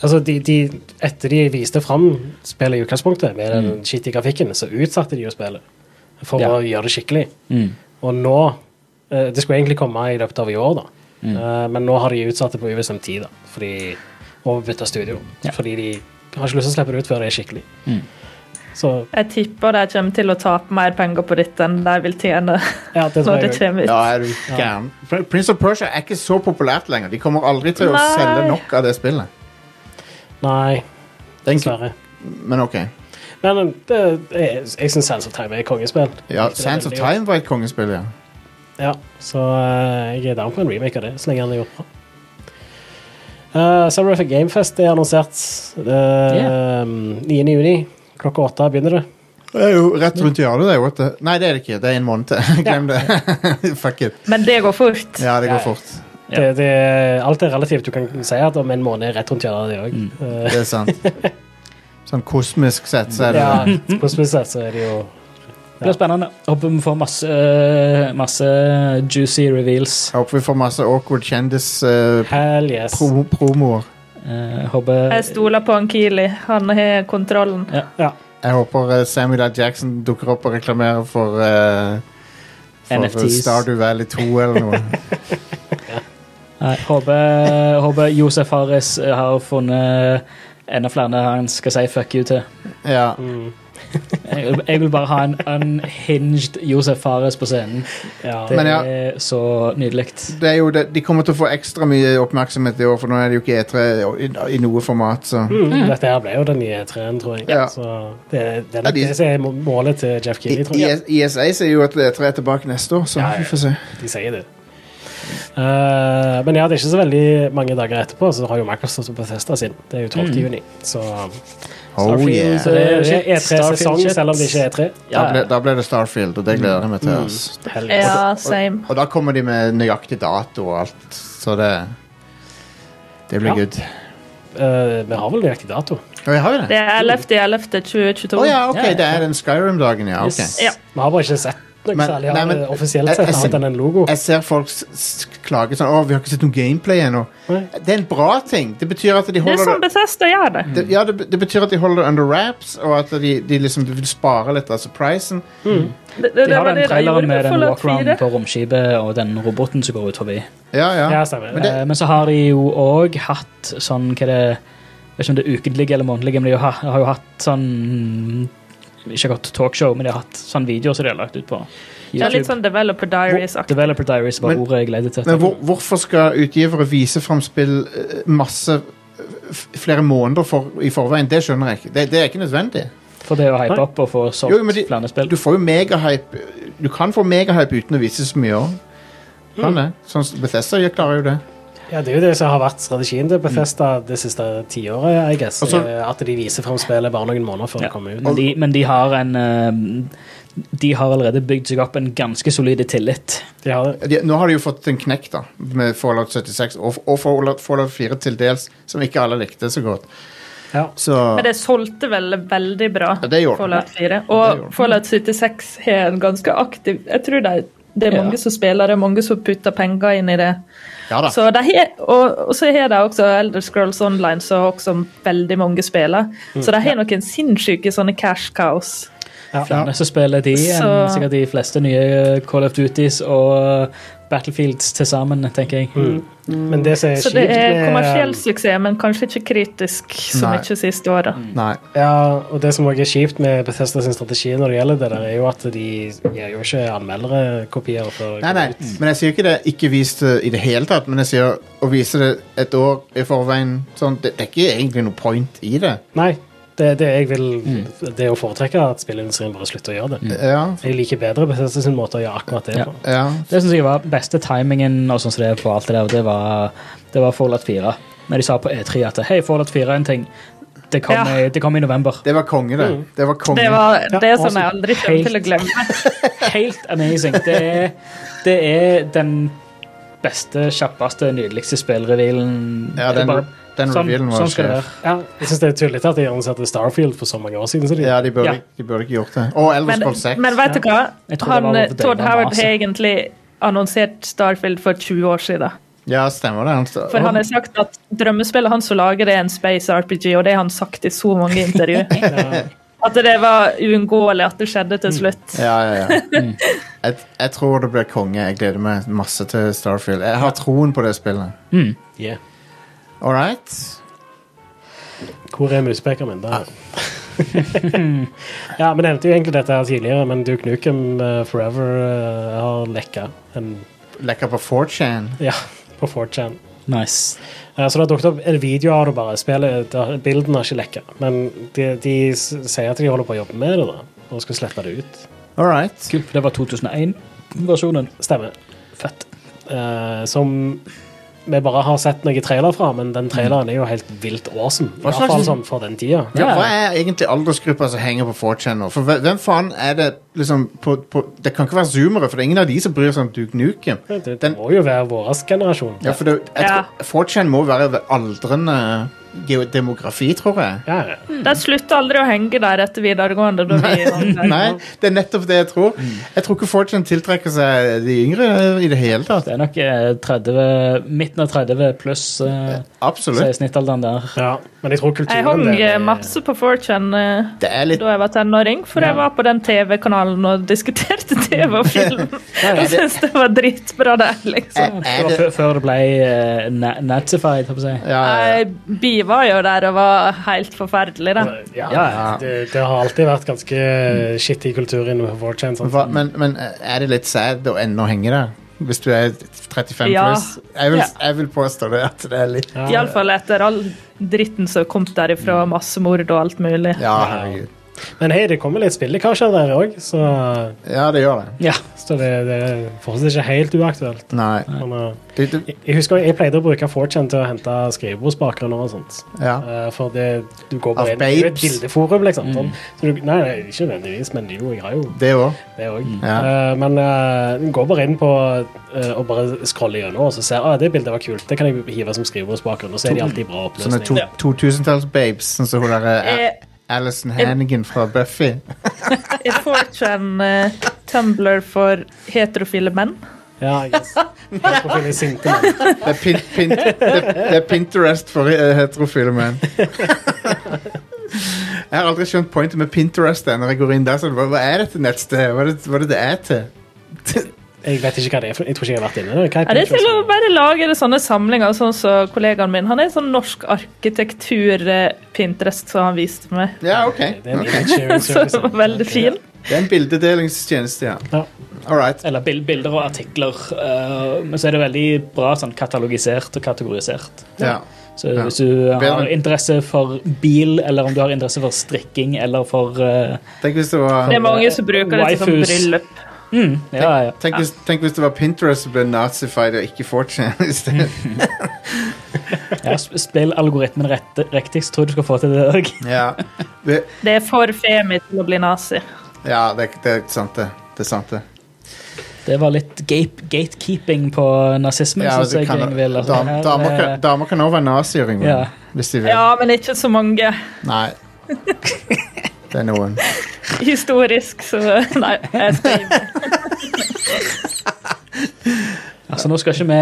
Altså, de, de, etter de viste fram spillet i utgangspunktet, med den skittige grafikken, så utsatte de jo spillet for
Mm. Ja.
å gjøre det skikkelig.
Mm.
Og nå eh, Det skulle egentlig komme i løpet av i år, da.
Mm.
Eh, men nå har de utsatt det på ubestemt tid, da. Fordi Og bytta studio.
Ja.
Fordi de har ikke lyst til å slippe det ut før det er skikkelig.
Mm.
Så
Jeg tipper de kommer til å tape mer penger på dette enn de vil tjene
ja, det tror
når det
jeg.
kommer ut.
Ja, er du gæren? Pr- Prince of Persia er ikke så populært lenger. De kommer aldri til å
Nei.
selge nok av det spillet.
Nei,
Det er en
dessverre.
Men ok.
Men eh, det, jeg, jeg syns Sands of Time er et kongespill.
Ja,
Jeg likte det
Sands of
veldig godt.
Time var et kongespill, ja.
Ja, så eh, jeg er down på en remake av det, så lenge han er gjort bra. Uh, Summer for Gamefest er annonsert uh, 9. juni. Klokka åtte begynner det.
Det er jo rett rundt hjørnet, det. What the... Nei, det er det ikke. Det er en måned til. Glem det. Fuck it.
Men det går fort.
Ja, det
Ja,
går
ja.
fort.
Ja.
det, det alt er relativt. Du kan si at om en måned er rett rundt hjørnet, det òg. Eh,
Det er sant. Sånn kosmisk sett, så er det
ja, på spesielt så er det jo
Det blir spennende. Håper vi får masse, eh, masse juicy reveals.
Jeg håper vi får masse awkward kjendis-promoer.
Hell yes.
Eh, håper
Jeg stoler på han Keeley. Han har kontrollen.
Ja.
Jeg håper eh, Samuel L. Jackson dukker opp og reklamerer for, eh, for
NFTs.
Stardew Valley 2 eller noe.
Nei, håper, håper Josef Harris har funnet enda flere han skal si fuck you til.
ja.
Mm,
Jeg vil, jeg vil bare ha en unhinged Josef Harris på scenen.
ja.
Det
Men ja.
er så nydelig.
Det er jo det, de kommer til å få ekstra mye oppmerksomhet i år, for nå er det jo ikke E3 i, i noe format. Så.
Mm, dette her ble jo den nye treen, tror jeg.
Ja.
Så det, det er
Ja,
nok
de-
det som er må- målet til Jeff
I,
Keeley, tror jeg.
IS- ISA sier jo at E3 er tilbake neste år, så
Ja, ja.
vi får se.
De sier det. Eh, men ja, det er ikke så veldig mange dager etterpå, så har jo Microsoft og Bethesda sin. Det er jo 12. juni, så
Oh,
Starfield,
yeah.
Så det er jo ikke
Shit, Starfield,
E3-sesong,
shit.
selv om det ikke er E E3.
da,
Ja,
ble, da ble det Starfield, og det gleder jeg meg til. ass.
Helvete.
Ja, same.
Og da kommer de med nøyaktig dato og alt, så det Det blir
Ja.
good.
Eh, vi har vel nøyaktig dato.
Å, jeg har jo
Det
det.
er 11.11.2022.
Å ja, ok,
Ja, ja.
det er den Skyrim-dagen, ja. ok.
Yes.
Ja.
Vi har bare ikke sett noe
Men-
særlig av
nei, men-
det offisielt
jeg-
sett,
jeg
annet
ser-
enn en logo.
Jeg ser folk s- s- klage sånn Å, vi har ikke sett noe gameplay ennå.
Nei.
Det er en bra ting. Det betyr at de
Det er
holder
sånn Bethesda gjør det.
det, ja, det, det betyr at de holder det under wraps, og at de, de liksom vil spare litt av surprisen.
Det- det-
De
det
har
var det de gjorde
den
med
traileren med den
Fallout 4.
walkaround på romskipet og den roboten som går ut forbi.
Ja, ja.
Ja, stemmer.
Men det-
Eh, Men så har de jo òg hatt sånn hva det Jeg vet ikke om det er ukentlig eller månedlig, men de har, har jo hatt sånn Ikke akkurat talkshow, men de har hatt sånn videoer som de har lagt ut på
Det er litt
YouTube.
sånn Developer Diaries-aktig.
Developer Diaries var
Men-
ordet jeg leide til.
Men hvor, hvorfor skal utgivere vise fram spill eh, masse eh, f- flere måneder for, i forveien? Det skjønner jeg ikke. Det, det er ikke nødvendig.
For det å hype opp og få
Jo, men
solgt
de-
flere spill.
Du får jo megahype Du kan få megahype uten å vise så mye òg. Kan det. Sånn som Bethesda gjør- klarer jo det.
Ja, Det er jo det som har vært strategien til Bethesda det siste tiåret. I guess,
Mm. Og så-
er at de viser fram spillet bare noen måneder før
Ja.
det kommer ut.
Men, de, men de har en eh, De har allerede bygd seg opp en ganske solid tillit.
De har det.
De, nå har de jo fått en knekk da med Fallout 76 og, og Fallout, Fallout 4 til dels, som ikke alle likte så godt.
Ja.
Så
Men det solgte vel veldig bra,
Ja, det gjorde
Fallout 4.
det
Og
gjorde det.
Fallout 76 har en ganske aktiv Jeg tror det, det er
Ja.
mange som spiller, det er mange som putter penger inn i det.
ja da.
Så de har, og, og så har de også Elder Scrolls Online, som også veldig mange spiller. Så de har noen sinnssyke sånne cash cows.
Flere som spiller de enn
Så-
sikkert de fleste nye eh, Call of Duties og eh, Battlefields til sammen, tenker jeg.
Men det som er
Så
kjipt
det er
med-
kommersiell suksess, men kanskje ikke kritisk så
Nei.
mye siste året.
Nei.
Ja, og det som også er kjipt med Bethesda sin strategi når det gjelder det der, er jo at de gir jo ikke anmeldere kopier før det
Nei, nei,
kommer ut.
men jeg sier ikke det er ikke vist det i det hele tatt, men jeg sier å vise det et år i forveien sånn, det, det er ikke egentlig noe point i det.
Nei, det, det jeg vil
Mm.
Det er å foretrekke at spillindustrien bare slutter å gjøre det.
Ja.
Jeg liker bedre Bethesda sin måte å gjøre akkurat det
Ja.
på.
Mm. ja.
Det synes jeg var beste timingen og sånn som det er på alt det der, det var, det var Fallout 4. Når de sa på E3 at hei, Fallout 4 er en ting. Det kom,
Ja.
i, det kom i november.
Det var konge, det. Det var konge.
Mm. Det, var, det er
Ja,
sånn jeg
altså,
aldri kommer til å glemme.
Helt amazing. Det er, det er den beste, kjappeste, nydeligste spillrevealen.
Ja,
Det er
den- den revealen var
sånn skal det
sjef.
være.
Ja, jeg syns det er tullete at de annonserte Starfield for så mange år siden. Så de,
Ja, de burde,
Ja.
de burde ikke gjort det. Og Elvis
Men,
Paul 6.
men vet du hva?
Jeg tror det
Han,
var overdrevet
Todd
av
Howard
maset.
har egentlig annonsert Starfield for 20 år siden.
ja, stemmer det. Han står-
For han har sagt at drømmespillet han som lager, det er en space RPG, og det har han sagt i så mange intervju. At det var uunngåelig at det skjedde til slutt.
Ja, ja, ja. Mm. Jeg, jeg tror det blir konge. Jeg gleder meg masse til Starfield. Jeg har troen på det spillet.
Mm.
yeah.
All right.
Hvor er muspekeren min? Der. ja, vi nevnte jo egentlig dette her tidligere, men Duke Nukem eh, Forever eh, har lekka en,
Lekker på 4chan.
ja, på 4chan.
Nice.
Eh, Så det har dukket opp en video av det bare. Spillet, det har- bilden har ikke lekka. Men de, de s- sier at de holder på å jobbe med det da, og skal slippe det ut.
All right.
Kult, for det var 2001-versjonen.
Stemmer.
Fett.
Eh, som vi bare har sett noen trailer fra, men den traileren er jo helt vilt awesome. I
Hva
hvert fall
slags-
sånn for den tida.
Ja,
Ja.
hva er egentlig aldersgruppa som henger på 4chan nå? For hve- hvem faen er det liksom på, på, Det kan ikke være zoomere, for det er ingen av de som bryr seg om Duke Nukem.
Det, det
Den-
må jo være vår generasjon.
Ja, for det, jeg
Ja.
tror- 4chan må være ved aldrende geo- demografi, tror jeg.
Ja, ja.
Mm.
De slutta aldri å henge der etter videregående. Da vi
Nei, det er nettopp det jeg tror. Jeg tror ikke 4chan tiltrekker seg de yngre i det hele tatt.
Det er nok eh, 30, midten av 30 pluss eh,
Absolutt.
sier snittalderen der.
Ja, men jeg tror kulturen
Jeg hang
der
eh,
er-
masse på 4chan eh,
Det er litt
da jeg var tenåring, for jeg var på den TV-kanalen og diskuterte TV og film. Jeg syns det var dritbra der, liksom.
Er,
Det
er
var
det
før, før det ble eh, na nazified, holdt jeg på å
ja,
si.
ja, ja.
Nei, Eh, Bi var jo der og var helt forferdelig, da.
Ja,
ja.
Det, det har alltid vært ganske shitty kultur inne på 4chan. Sånn.
Hva, men, men er det litt sad å ennå henge der? Hvis du er 35
Ja.
pluss? Jeg vil,
Ja.
jeg vil påstå det. at det er litt
Ja,
Iallfall etter all dritten som kom derifra, massemord og alt mulig.
Ja, herregud.
Men hei, det kommer litt spilllekkasjer der òg, så,
Ja, det gjør det.
Ja.
så det, det er fortsatt ikke helt uaktuelt.
Nei.
Men, uh,
Det, det,
jeg- jeg husker jeg pleide å bruke 4chan til å hente skrivebordsbakgrunner og sånt.
ja.
Eh, for det, du går
Av
bare inn det er jo et
babes. Mm.
bildeforum, liksom. Sånn. Så du, nei, nei, ikke nødvendigvis, men jo, jeg har jo
det òg.
det òg.
Ja.
men eh, du går bare inn på eh, og bare scroller gjennom og så ser ah, det bildet var kult. Det kan jeg hive som skrivebordsbakgrunn, og så er de alltid i bra
Sånne
oppløsning.
to- 2000-talls-babes, sånn som hun der eh,
Er,
Alison Hannigan fra Buffy.
er 4chan eh, Tumblr for heterofile menn?
Ja, jeg yes. Profil er sinte menn.
Det er, pin, pin, det, det er Pinterest for eh, heterofile menn. Jeg har aldri skjønt pointet med Pinterest. Der, når jeg går inn der, så er det bare, Hva er dette nettstedet? Hva er det, hva er det det er til?
Jeg vet ikke hva det er, for jeg tror ikke sånn. jeg har vært inne. Hva
Ja, det er til å
Pinterest?
bare lage det sånne samlinger, sånn som kollegaen min. Han er sånn norsk arkitektur-pinterest, som han viste meg.
Ja, ok.
Det er en
Ok.
image sharing
Så det
service.
var veldig fin.
Det er en bildedelingstjeneste, ja.
Ja.
All right.
Eller bil- bilder og artikler. eh, men så er det veldig bra sånn katalogisert og kategorisert.
Ja.
Så
Ja.
hvis du har
Bedre.
interesse for bil, eller om du har interesse for strikking eller for eh,
Tenk hvis det var
Det er mange som bruker det til sånn
Waifus.
bryllup.
Ja, ja.
Tenk, hvis, tenk hvis det var Pinterest som ble nazified og ikke 4chan i stedet.
ja sp- spill algoritmen rett, riktig, så tror jeg du skal få til det òg.
Ja, det,
Det er for femi til å bli nazi.
ja det, det er sant, det. Det er sant, det.
Det var litt gape, gatekeeping på nazismen,
Ja,
synes
du
jeg.
kan-
jeg vil, altså.
dam-
Her,
damer
eh,
kan- Damer kan også være nazier, Yngve.
Ja.
Hvis de vil.
Ja, men ikke så mange.
Nei. Det er noen.
Historisk, så Nei. Jeg skal gi meg.
Altså, nå, skal ikke vi,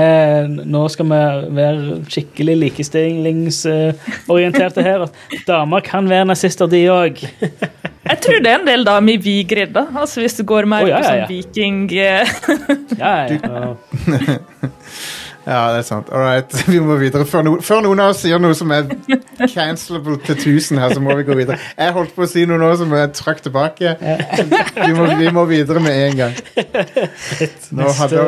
nå skal vi være skikkelig likestillingsorienterte her. At damer kan være nazister, de òg.
Jeg tror det er en del damer i Vigrid, da. Altså hvis du går mer
Å,
på
ja, ja,
sånn
ja.
viking... eh,
Ja, ja.
Ja, det er sant. All right, vi må videre. Før, no før noen av oss sier noe som er cancelable til 1000 her, så må vi gå videre. Jeg holdt på å si noe nå som jeg trakk tilbake. Vi må, vi må videre med en gang. Nå,
Neste
hadde,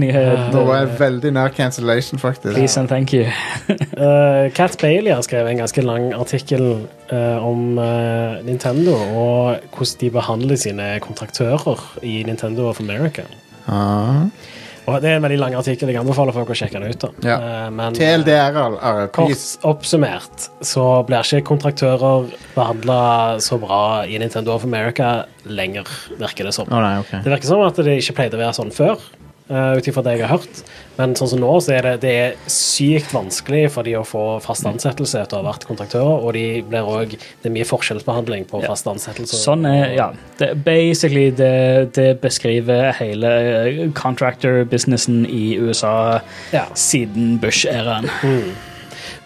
nyhet.
nå var jeg veldig nær cancellation, faktisk.
Please and thank you.
Eh, Cat Bailey har skrevet en ganske lang artikkel eh, om eh, Nintendo og hvordan de behandler sine kontraktører i Nintendo of America.
Ah.
Og Det er en veldig lang artikkel. Jeg anbefaler folk å sjekke den ut. da.
Ja.
Eh, men,
TLDR, al- al- please.
Kort oppsummert så blir ikke kontraktører behandla så bra i Nintendo of America lenger, virker det som.
Å nei, ok.
Det virker som at det ikke pleide å være sånn før, uh, ut ifra det jeg har hørt. Men sånn som nå, så er det, det er sykt vanskelig for de å få fast ansettelse etter å ha vært kontraktører, og de blir også, det er mye forskjellsbehandling på fast ansettelse.
Sånn er, ja. Det, basically, det, det beskriver hele eh, contractor-businessen i USA
Ja. Mm.
siden Bush-æraen.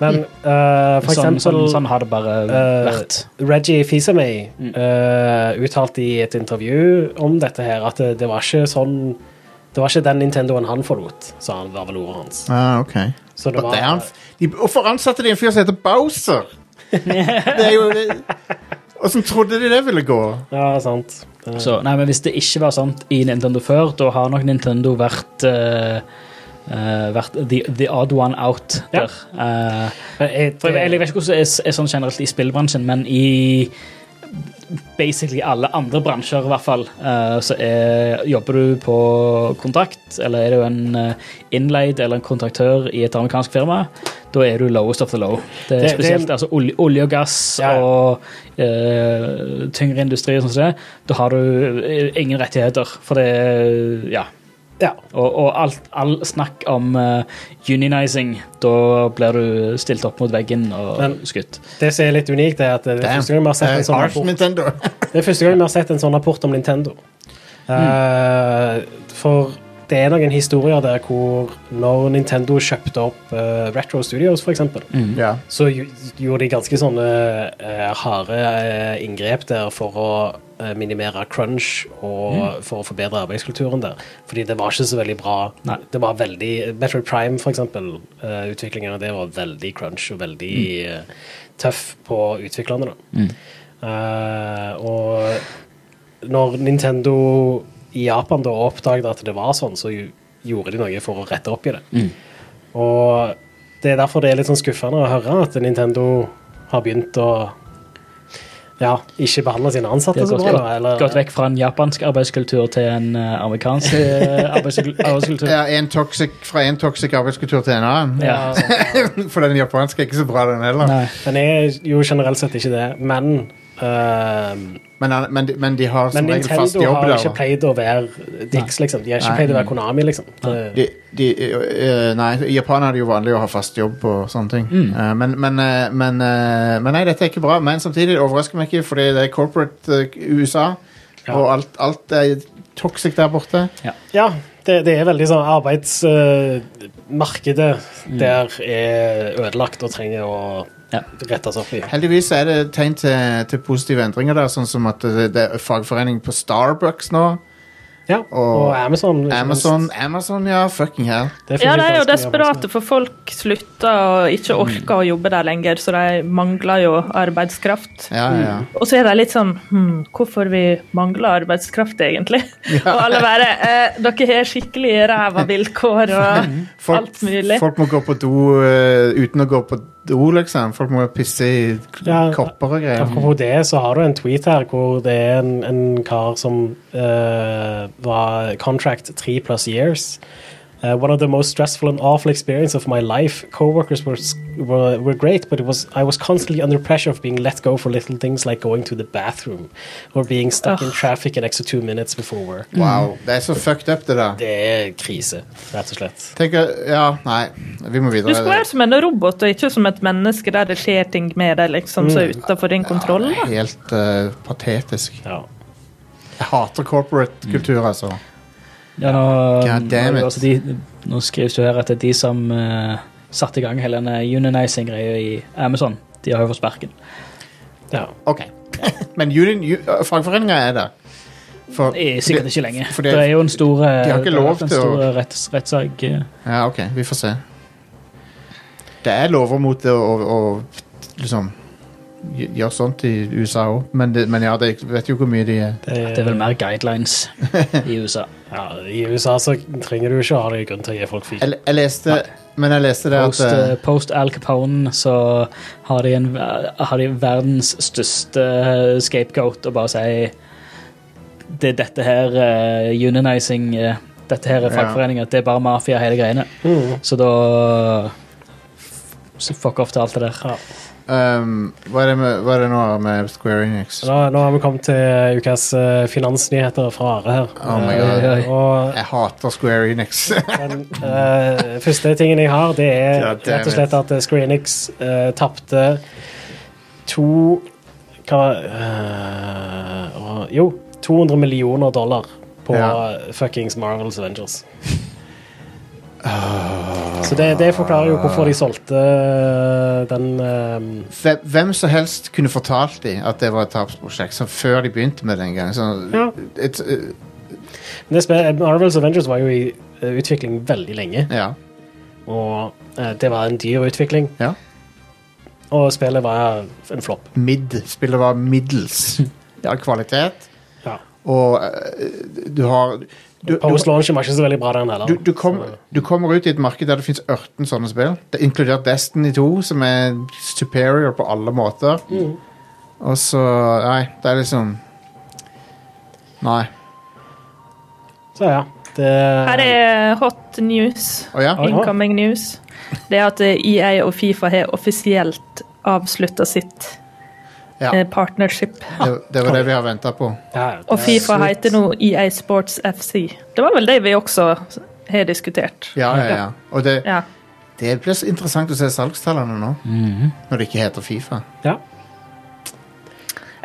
Men eh, for
Sånn,
eksempel
sånn, sånn har det bare
Eh,
vært.
Reggie Fils-Aimé
Mm.
eh, uttalte i et intervju om dette her at det, det var ikke sånn Det var ikke den Nintendoen han forlot, sa han, var vel ordet hans.
Ah, ok.
Så det
But det er han,
var,
de, hvorfor ansatte de en fyr som heter Bowser? det er jo det, Åssen trodde de det ville gå?
ja, sant. Eh,
Så, nei, men Hvis det ikke var sant i Nintendo før, da har nok Nintendo vært eh, eh, vært the, the odd one out
Ja.
der. Eh,
men jeg,
for jeg, jeg vet ikke hvordan det er, er sånn generelt i spillbransjen, men i basically alle andre bransjer, i hvert fall, eh, så er, jobber du på kontrakt, eller er du en eh, innleid eller en kontraktør i et amerikansk firma, da er du lowest of the low. Det
Det-
er
det er-
spesielt altså, olje, olje og gass
Ja, ja.
og eh, tyngre industri og sånn som det. Da har du eh, ingen rettigheter, for det Ja.
ja.
Og, og alt, all snakk om eh, unionizing, da blir du stilt opp mot veggen og
Men-
skutt.
Det som er litt unikt, er at det er
Damn.
første gang vi har sett en
Eh,
sånn
Arch
rapport,
Nintendo.
det er første gang vi har sett en sånn rapport om Nintendo.
Mm.
Eh, for det er noen historier der hvor når Nintendo kjøpte opp eh, Retro Studios, for eksempel,
ja.
så gj- gjorde de ganske sånne eh, harde eh, inngrep der for å eh, minimere crunch og for å forbedre arbeidskulturen der. Fordi det var ikke så veldig bra.
Nei.
Det var veldig Metroid Prime, for eksempel, eh, utviklingen av det var veldig crunch og veldig eh, tøff på utviklerne, da. Eh, og når Nintendo i Japan da oppdaget at det var sånn, så jo- gjorde de noe for å rette opp i det.
Mm.
Og det er derfor det er litt sånn skuffende å høre at Nintendo har begynt å ja, ikke behandle sine ansatte
Det har
så
gått,
bra. Da, eller,
gått, gått vekk fra en japansk arbeidskultur til en eh, amerikansk eh, arbeidskultur. arbeidskultur.
ja en toxic, fra en toxic arbeidskultur til en annen.
Ja.
For den japanske er ikke så bra, den heller.
Nei.
Den er jo generelt sett ikke det, men eh,
Men, han- men, de- men de har som
Men
regel fast
Nintendo
jobb
har
der.
ikke
da.
pleid å være Dix, liksom. De har ikke
Nei.
pleid å være Konami, liksom. Det,
De, de, eh, nei, I Japan er det jo vanlig å ha fast jobb og sånne ting.
Mm.
Eh, men, men, eh, men, eh, men nei, dette er ikke bra. Men samtidig det overrasker meg ikke, fordi det er corporate eh, USA,
Ja.
og alt, alt er toxic der borte.
ja, det, det er veldig sånn arbeidsmarkedet der er ødelagt og trenger å
Ja.
rettes opp i.
Heldigvis er det tegn til, til positive endringer der, sånn som at det, det er fagforening på Starbucks nå.
Ja, og, Amazon. ikke minst.
Amazon, Amazon ja, fucking hell.
Det finnes
Ja, de er jo
ganske mye
desperate,
sånn.
for folk slutter og ikke
Mm.
orker å jobbe der lenger, så de mangler jo arbeidskraft.
Ja, ja,
Mm.
ja.
Og så er de litt sånn hm, Hvorfor vi mangler arbeidskraft, egentlig? Og alle bare eh, Dere har skikkelig ræva vilkår og
Mm.
Folk,
alt mulig.
folk må gå på do eh, uten å gå på do, liksom. Folk må pisse i k-
Ja,
kopper og greier.
Apropos det, så har du en tweet her hvor det er en, en kar som eh, var contract three plus years. Uh, one of the most stressful and awful experience of my life. Coworkers were, s- were were great, but it was I was constantly under pressure of being let go for little things like going to the bathroom or being stuck in traffic an extra two minutes before work.
Mm.
Wow. Det er så fucked up, det der.
Det er krise, rett og slett.
Tenk at- Ja, nei. Vi må
Du
videre.
skal være som en robot, og ikke som et menneske der det skjer ting med deg liksom, som
Mm.
er utenfor din kontroll.
Det
da.
er Helt eh, patetisk.
Ja.
Jeg hater corporate
Mm.
kultur, altså.
Ja, nå,
God damn it.
nå, altså, de, nå skrives det jo her at det er de som eh, satte i gang hele denne unionizing-greia i Amazon, de har jo fått sparken.
ja.
OK. Men union, ju- eh, fagforeninger er der. For,
I sikkert ikke lenge.
for
det, er jo en stor eh,
de har ikke
det har
lov
vært en
til å-
stor eh, retts, rettssak. eh.
Ja, OK. Vi får se. Det er lover mot det å, å liksom gj- gjøre sånt i USA òg, men, det- men ja, det, jeg vet jo hvor mye de er
Det er vel mer guidelines i USA.
Eh, ja, I USA så trenger du ikke å ha det i grunn til å gi folk fyr.
Jeg, jeg leste Men jeg leste det
Post,
at eh,
eh, post Al Capone så har de, en, ver- har de verdens største eh, scapegoat og bare sier det er dette her eh, unionizing eh, Dette her er
Ja. Mm.
fagforeninger. Det er bare mafia, hele greiene. Så da så Fuck off til alt det der.
Ja.
eh,
um, hva, er det med, hva er det nå med Square Enix?
Så Nå, nå har vi kommet til ukas eh, finansnyheter fra Are her.
Oh my
God.
Eh, og
Jeg hater Square Enix.
den eh, første tingen jeg har, det er
God damn
rett og slett at eh, Screenix uh, tapte to hva, eh, og- Jo, 200 millioner dollar på
Ja.
fuckings Marvels Avengers. Så det, det forklarer jo hvorfor de solgte eh, den eh,
Hvem- Hvem som helst kunne fortalt dem at det var et tapsprosjekt, så før de begynte med det en gang. Så,
Ja.
et, eh,
det spe- Marvels Avengers var jo i eh, utvikling veldig lenge.
ja.
Og eh, det var en dyr utvikling,
ja.
og spillet var en flopp.
Mid. Spillet var middels. Ja, kvalitet.
Ja.
Og eh, du har du, du,
Post-launchen var ikke så veldig bra, den heller.
du, du, kom, du kommer ut i et marked der det fins 18 sånne spill, det er inkludert Destiny 2, som er superior på alle måter. Og så Nei, det er liksom Nei.
Så ja, det
Her er hot news.
Å ja?
Incoming news. Det er at EA og Fifa har offisielt avslutta sitt
Ja.
eh, partnership.
Det, det var det vi har venta på.
ja,
Og
det-
Fifa heter nå EA Sports FC. Det var vel det vi også har diskutert.
Ja, ja, ja. Og det,
Ja.
det blir så interessant å se salgstallene nå,
Mhm.
når det ikke heter Fifa.
Ja.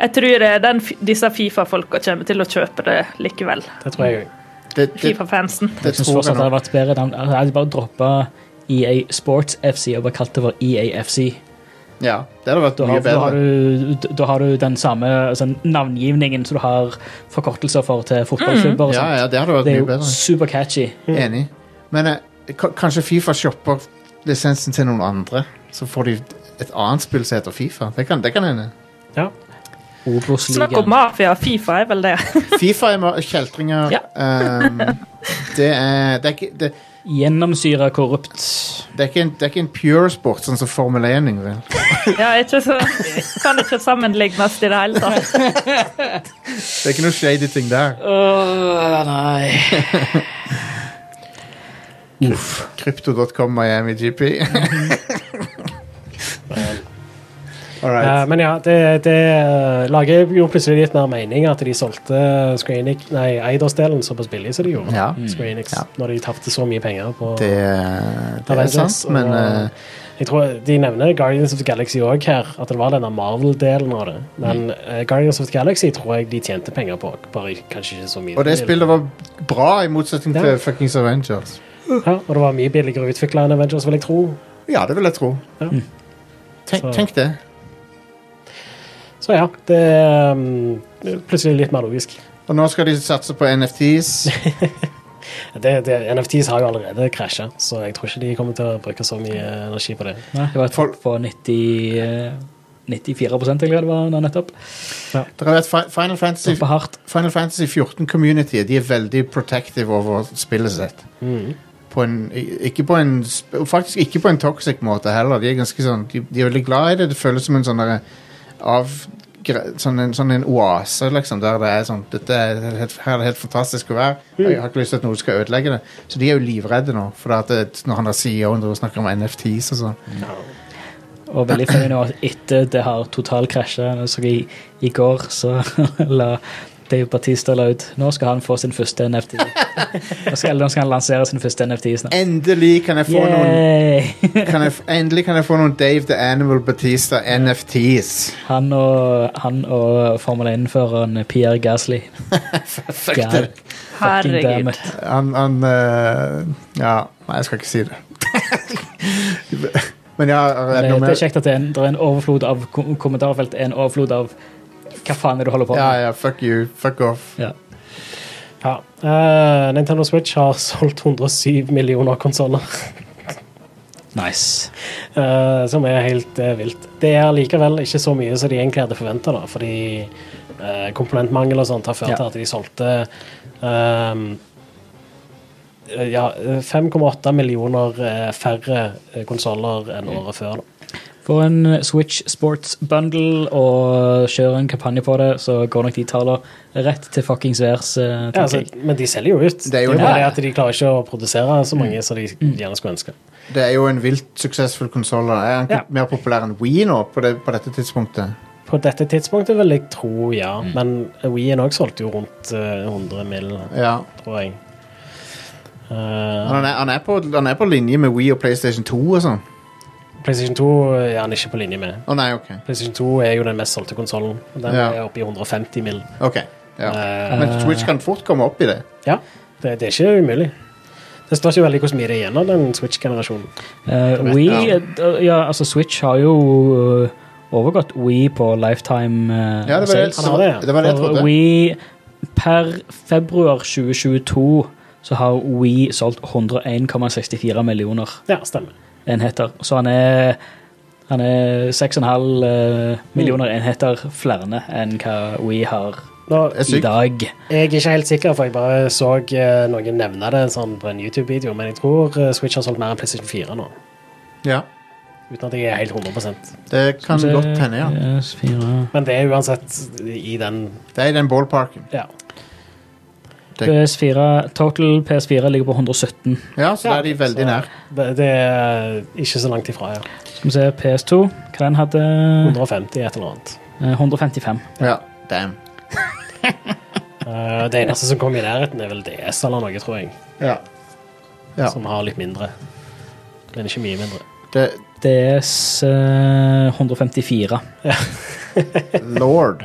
Jeg tror eh, den, fi- disse Fifa-folka kommer til å kjøpe det likevel.
Det tror jeg òg.
Det, det, det,
Fifa-fansen.
Jeg synes
tror jeg
fortsatt det hadde
nå.
vært bedre navn. Altså, Jeg hadde bare droppa EA Sports FC og bare kalt det for E EAFC.
Ja, det hadde vært
Da har,
mye
da, har
bedre.
du, da har du den samme altså, navngivningen som du har forkortelser for til fotballklubber. og
Mm.
sånn.
Ja,
sånt.
ja, det hadde vært
Det er
mye
jo
bedre.
supercatchy.
Enig. Men eh, ka- kanskje Fifa shopper lisensen til noen andre, så får de et annet spill som heter Fifa. Det kan, det kan hende.
Ja.
Snakk om
Obos-ligaen.
mafia. Fifa er vel det.
Fifa er ma- kjeltringer.
Ja.
ehm, det, er, det, er ikke, det,
Gjennomsyra korrupt.
det, er ikke en, det er ikke en pure sport, sånn som Formel 1 er, vel.
Ja, ikke så, kan ikke sammenlignes i det hele tatt.
Det er ikke noe shady ting der.
Åh, nei.
Krypto.com Miami GP. All
Eh,
right.
men ja, det, det eh, lager jo plutselig litt mer mening at de solgte Screenix, nei, Eidos-delen såpass billig som de gjorde.
Ja. Mm.
Screenix,
Ja.
Når de tapte så mye penger på
Det, det er
Avengers,
sant,
og-
men eh,
Jeg tror De nevner Guardians of the Galaxy òg her, at det var denne Marvel-delen av det.
Mm.
Men eh, Guardians of the Galaxy tror jeg de tjente penger på. Bare kanskje ikke så mye.
Og det spillet var bra, i motsetning
Ja.
til fuckings Avengers.
Ja, og det var mye billigere utvikla enn Avengers, vil jeg tro.
Ja, det vil jeg tro. Mm.
Ja.
Tenk,
Så-
tenk det.
Så ja, det er um, plutselig litt mer logisk.
Og nå skal de satse på NFTs.
Det, det, NFTs har jo allerede krasja, så jeg tror ikke de kommer til å bruke så mye energi på det.
Nei, det var et
Folk-
folk på 90, eh, 94 egentlig, det var nå nettopp.
Dere vet Fi- Final Fantasy,
Droppa hardt.
Mm.
Final Fantasy 14 Community de er veldig protective over spillet sitt. på en, i- ikke på en sp- Faktisk ikke på en toxic måte heller. De er ganske sånn De, de er veldig glad i det. Det føles som en sånn derre av gre- Sånn en, sånn en oase, liksom, der det er sånn Dette er helt, her er det helt fantastisk å være. og Jeg har ikke lyst til at noen skal ødelegge det. Så de er jo livredde nå, for at det, når han der CEO-en driver og snakker om NFTs og sånn.
Og veldig fornøyd nå at etter det har totalkrasja, så i, i går så la Dave Batista la ut Nå skal han få sin første NFT. Nå skal, eller nå skal han lansere sin første NFT snart.
Endelig kan jeg få noen
Yay!
kan jeg, f- Endelig kan jeg få noen Dave the Animal Batista NFTs.
Han og, han og Formel 1-føreren Pierre Gasly.
Fuck
God
det.
fucking damn
Herregud.
it.
Han, han eh, Ja, nei, jeg skal ikke si det. Men ja, er
Det,
det noe
eh, det er
mer?
kjekt at det er en, det er en overflod av kom- kommentarfelt, en overflod av hva faen er det du holder på
Ja,
med?
ja, fuck you. Fuck off.
Ja.
Ja. eh, Nintendo Switch har solgt 107 millioner konsoller,
Nice.
eh, som er helt eh, vilt. Det er likevel ikke så mye som de egentlig hadde forventa, fordi eh, komponentmangel og sånt har ført
Ja.
til at de solgte ehm, eh, ja, 5,8 millioner eh, færre konsoller enn
Mm.
året før. Da.
Få en Switch Sports Bundle og kjør en kampanje på det, så går nok de tallene rett til fuckings værs. eh,
Ja,
tenker
altså,
jeg.
men de selger jo ut.
Det er jo
bare
det. Mm.
det at de klarer ikke å produsere så mange som de gjerne skulle ønske.
Det er jo en vilt suksessfull konsoll. Er han ikke
Ja.
mer populær enn Wii nå på, det, på dette tidspunktet?
På dette tidspunktet vil jeg tro ja,
Mm.
men Wien òg solgte jo rundt eh, 100 mill.,
Ja.
tror jeg. Eh,
Han er, han, er på, han er på linje med Wii og PlayStation 2 og sånn.
PlayStation 2 er han ikke på linje med.
Å nei, OK.
PlayStation 2 er jo den mest solgte konsollen. Den
Ja.
er oppe i 150 mill.
Ok, ja.
Eh,
Men Switch kan fort komme opp i det.
ja, det, det er ikke umulig. Det står ikke veldig hvor mye det er igjen av den Switch-generasjonen.
Eh, Wii, eh, ja, altså Switch har jo eh, overgått Wii på lifetime eh,
Ja, det var det,
sales.
det,
Han har
var,
det, ja.
det, var det jeg
For
trodde.
Wii per februar 2022 så har Wii solgt 101,64 millioner
Ja, stemmer.
enheter. Så han er han er 6,5 eh,
Mm.
millioner enheter flere enn hva Wii har
Nå,
Det er
i
sykt.
dag.
Jeg er ikke helt sikker, for jeg bare så eh, noen nevne det sånn på en YouTube-video, men jeg tror eh, Switch har solgt mer enn PlayStation 4 nå.
Ja,
Uten at jeg er helt 100
det kan
Så-
godt hende, ja.
yes, fire.
Men det er uansett i den
Det er i den ballparken.
Ja.
Det-
PS4, total PS4 ligger på 117.
Ja, så da er de
Ja,
veldig
så
nær.
Det, det er ikke så langt ifra, ja.
Skal vi se, PS2, hva den hadde?
150 et eller annet.
Eh, 155.
Ja, damn.
Eh, det eneste som kom i nærheten, er vel DS eller noe, tror jeg.
Ja. Ja.
Som har litt mindre. Men ikke mye mindre.
Det,
DS eh, 154.
Lord.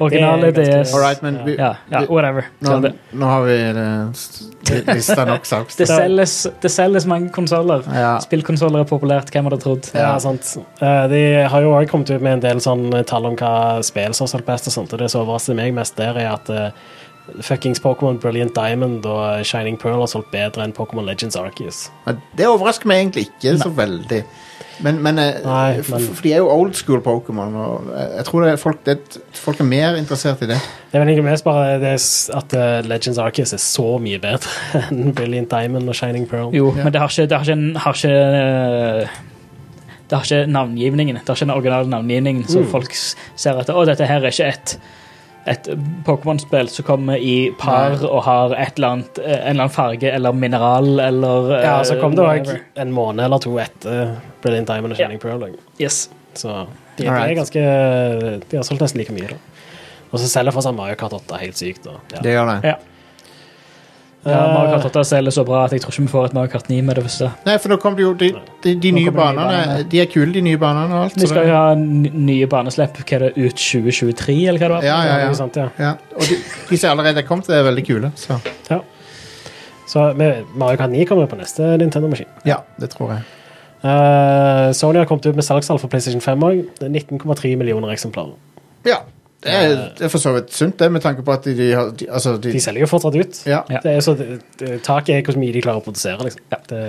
Originale
Det er ganske-
DS.
All right, men vi,
Ja, ja, whatever.
nå,
Skal det.
nå har vi eh, s- lista nok
Det
salgstall.
selges, det selges mange konsoller.
Ja.
Spillkonsoller er populært, hvem hadde trodd?
Ja, sant. Eh, de har jo også kommet ut med en del sånn tall om hva spill som har solgt best, og sånt, og det som overrasker meg mest der, er at eh, fuckings Pokémon Brilliant Diamond og Shining Pearl har solgt bedre enn Pokémon Legends Arceus.
Men Det overrasker meg egentlig ikke så veldig. Men, men, eh,
Nei,
f-
men-
f- For de er jo old school Pokémon, og eh, jeg tror det er folk, det, folk er mer interessert i det.
Det er vel egentlig mest bare det s- at eh, Legends Arceus er så mye bedre enn Brilliant Diamond og Shining Pearl.
Jo,
Ja.
men det har ikke, det har ikke, en- har ikke eh, det har ikke navngivningen. Det har ikke den originale navngivningen,
Mm.
så folk s- ser at å, dette her er ikke et et Pokémon-spill som kommer i par
Nei.
og har et eller annet, eh, en eller annen farge eller mineral eller eh,
Ja, så kom det òg
whatever.
en måned eller to etter Brilliant Diamond og Shining Pearl. også.
Yes.
Så de, de
Alright.
er ganske De har solgt nesten like mye, da. Og så selger fortsatt Mario Kart 8 helt sykt. Da. Ja. Eh.
Det gjør det.
Ja. Ja, Mario Kart 8 selger så bra at jeg tror ikke vi får et Mario Kart 9 med det første.
Nei, for nå kom det jo De, de, de nye
kommer de nye
banene.
banene.
De er kule, de nye banene og alt.
Vi
så
skal
det-
jo ha n- nye baneslipp hva er det, ut 2023, eller hva det var?
Ja, ja,
Det er jo
ja.
sant, ja.
ja. Og de, de som allerede er kommet, er veldig kule. Så
Ja. Så med- Mario Kart 9 kommer på neste Nintendo-maskin.
ja, det tror jeg.
Eh, Sony har kommet ut med salgstall for PlayStation 5 òg. 19,3 millioner eksemplarer.
Ja. Det er, det er for så vidt sunt, det, med tanke på at de, de har de, Altså, de
De selger jo fortsatt ut.
Ja.
Ja.
Det er så, det, det- taket er hvor mye de klarer å produsere. Liksom. Det,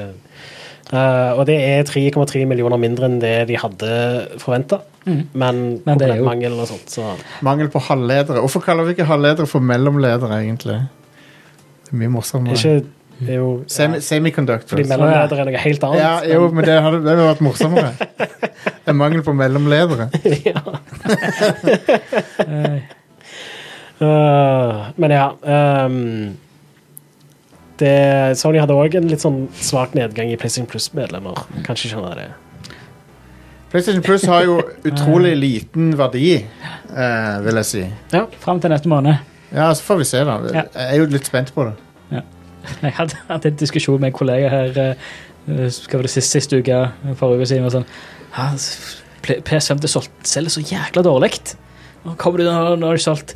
eh, og det er 3,3 millioner mindre enn det de hadde forventa.
Mhm.
Men,
Men
men
det er jo-
mangel og sånt, så
Mangel på halvledere. Hvorfor kaller vi ikke halvledere for mellomledere, egentlig? Det er mye morsommere.
ikke Det er jo
Semi
ja,
Semiconductors.
fordi mellomledere er noe helt annet.
Ja, jo, men det hadde, det hadde vært morsommere. Det er mangel på mellomledere.
Eh,
Øh, men ja ehm, det, Sony hadde òg en litt sånn svak nedgang i PlayStation Plus-medlemmer. Kanskje skjønner jeg det.
PlayStation Plus har jo utrolig liten verdi, eh, vil jeg si.
Ja.
Fram til neste måned.
Ja, så får vi se, da.
Ja.
Jeg er jo litt spent på det.
Jeg hadde hatt en diskusjon med en kollega her eh, skal det siste, siste uke, for uker siden. og Sånn, «Ja, s- P- PS5 det solgt, selger så jækla dårlig. Nå kommer de, nå har de solgt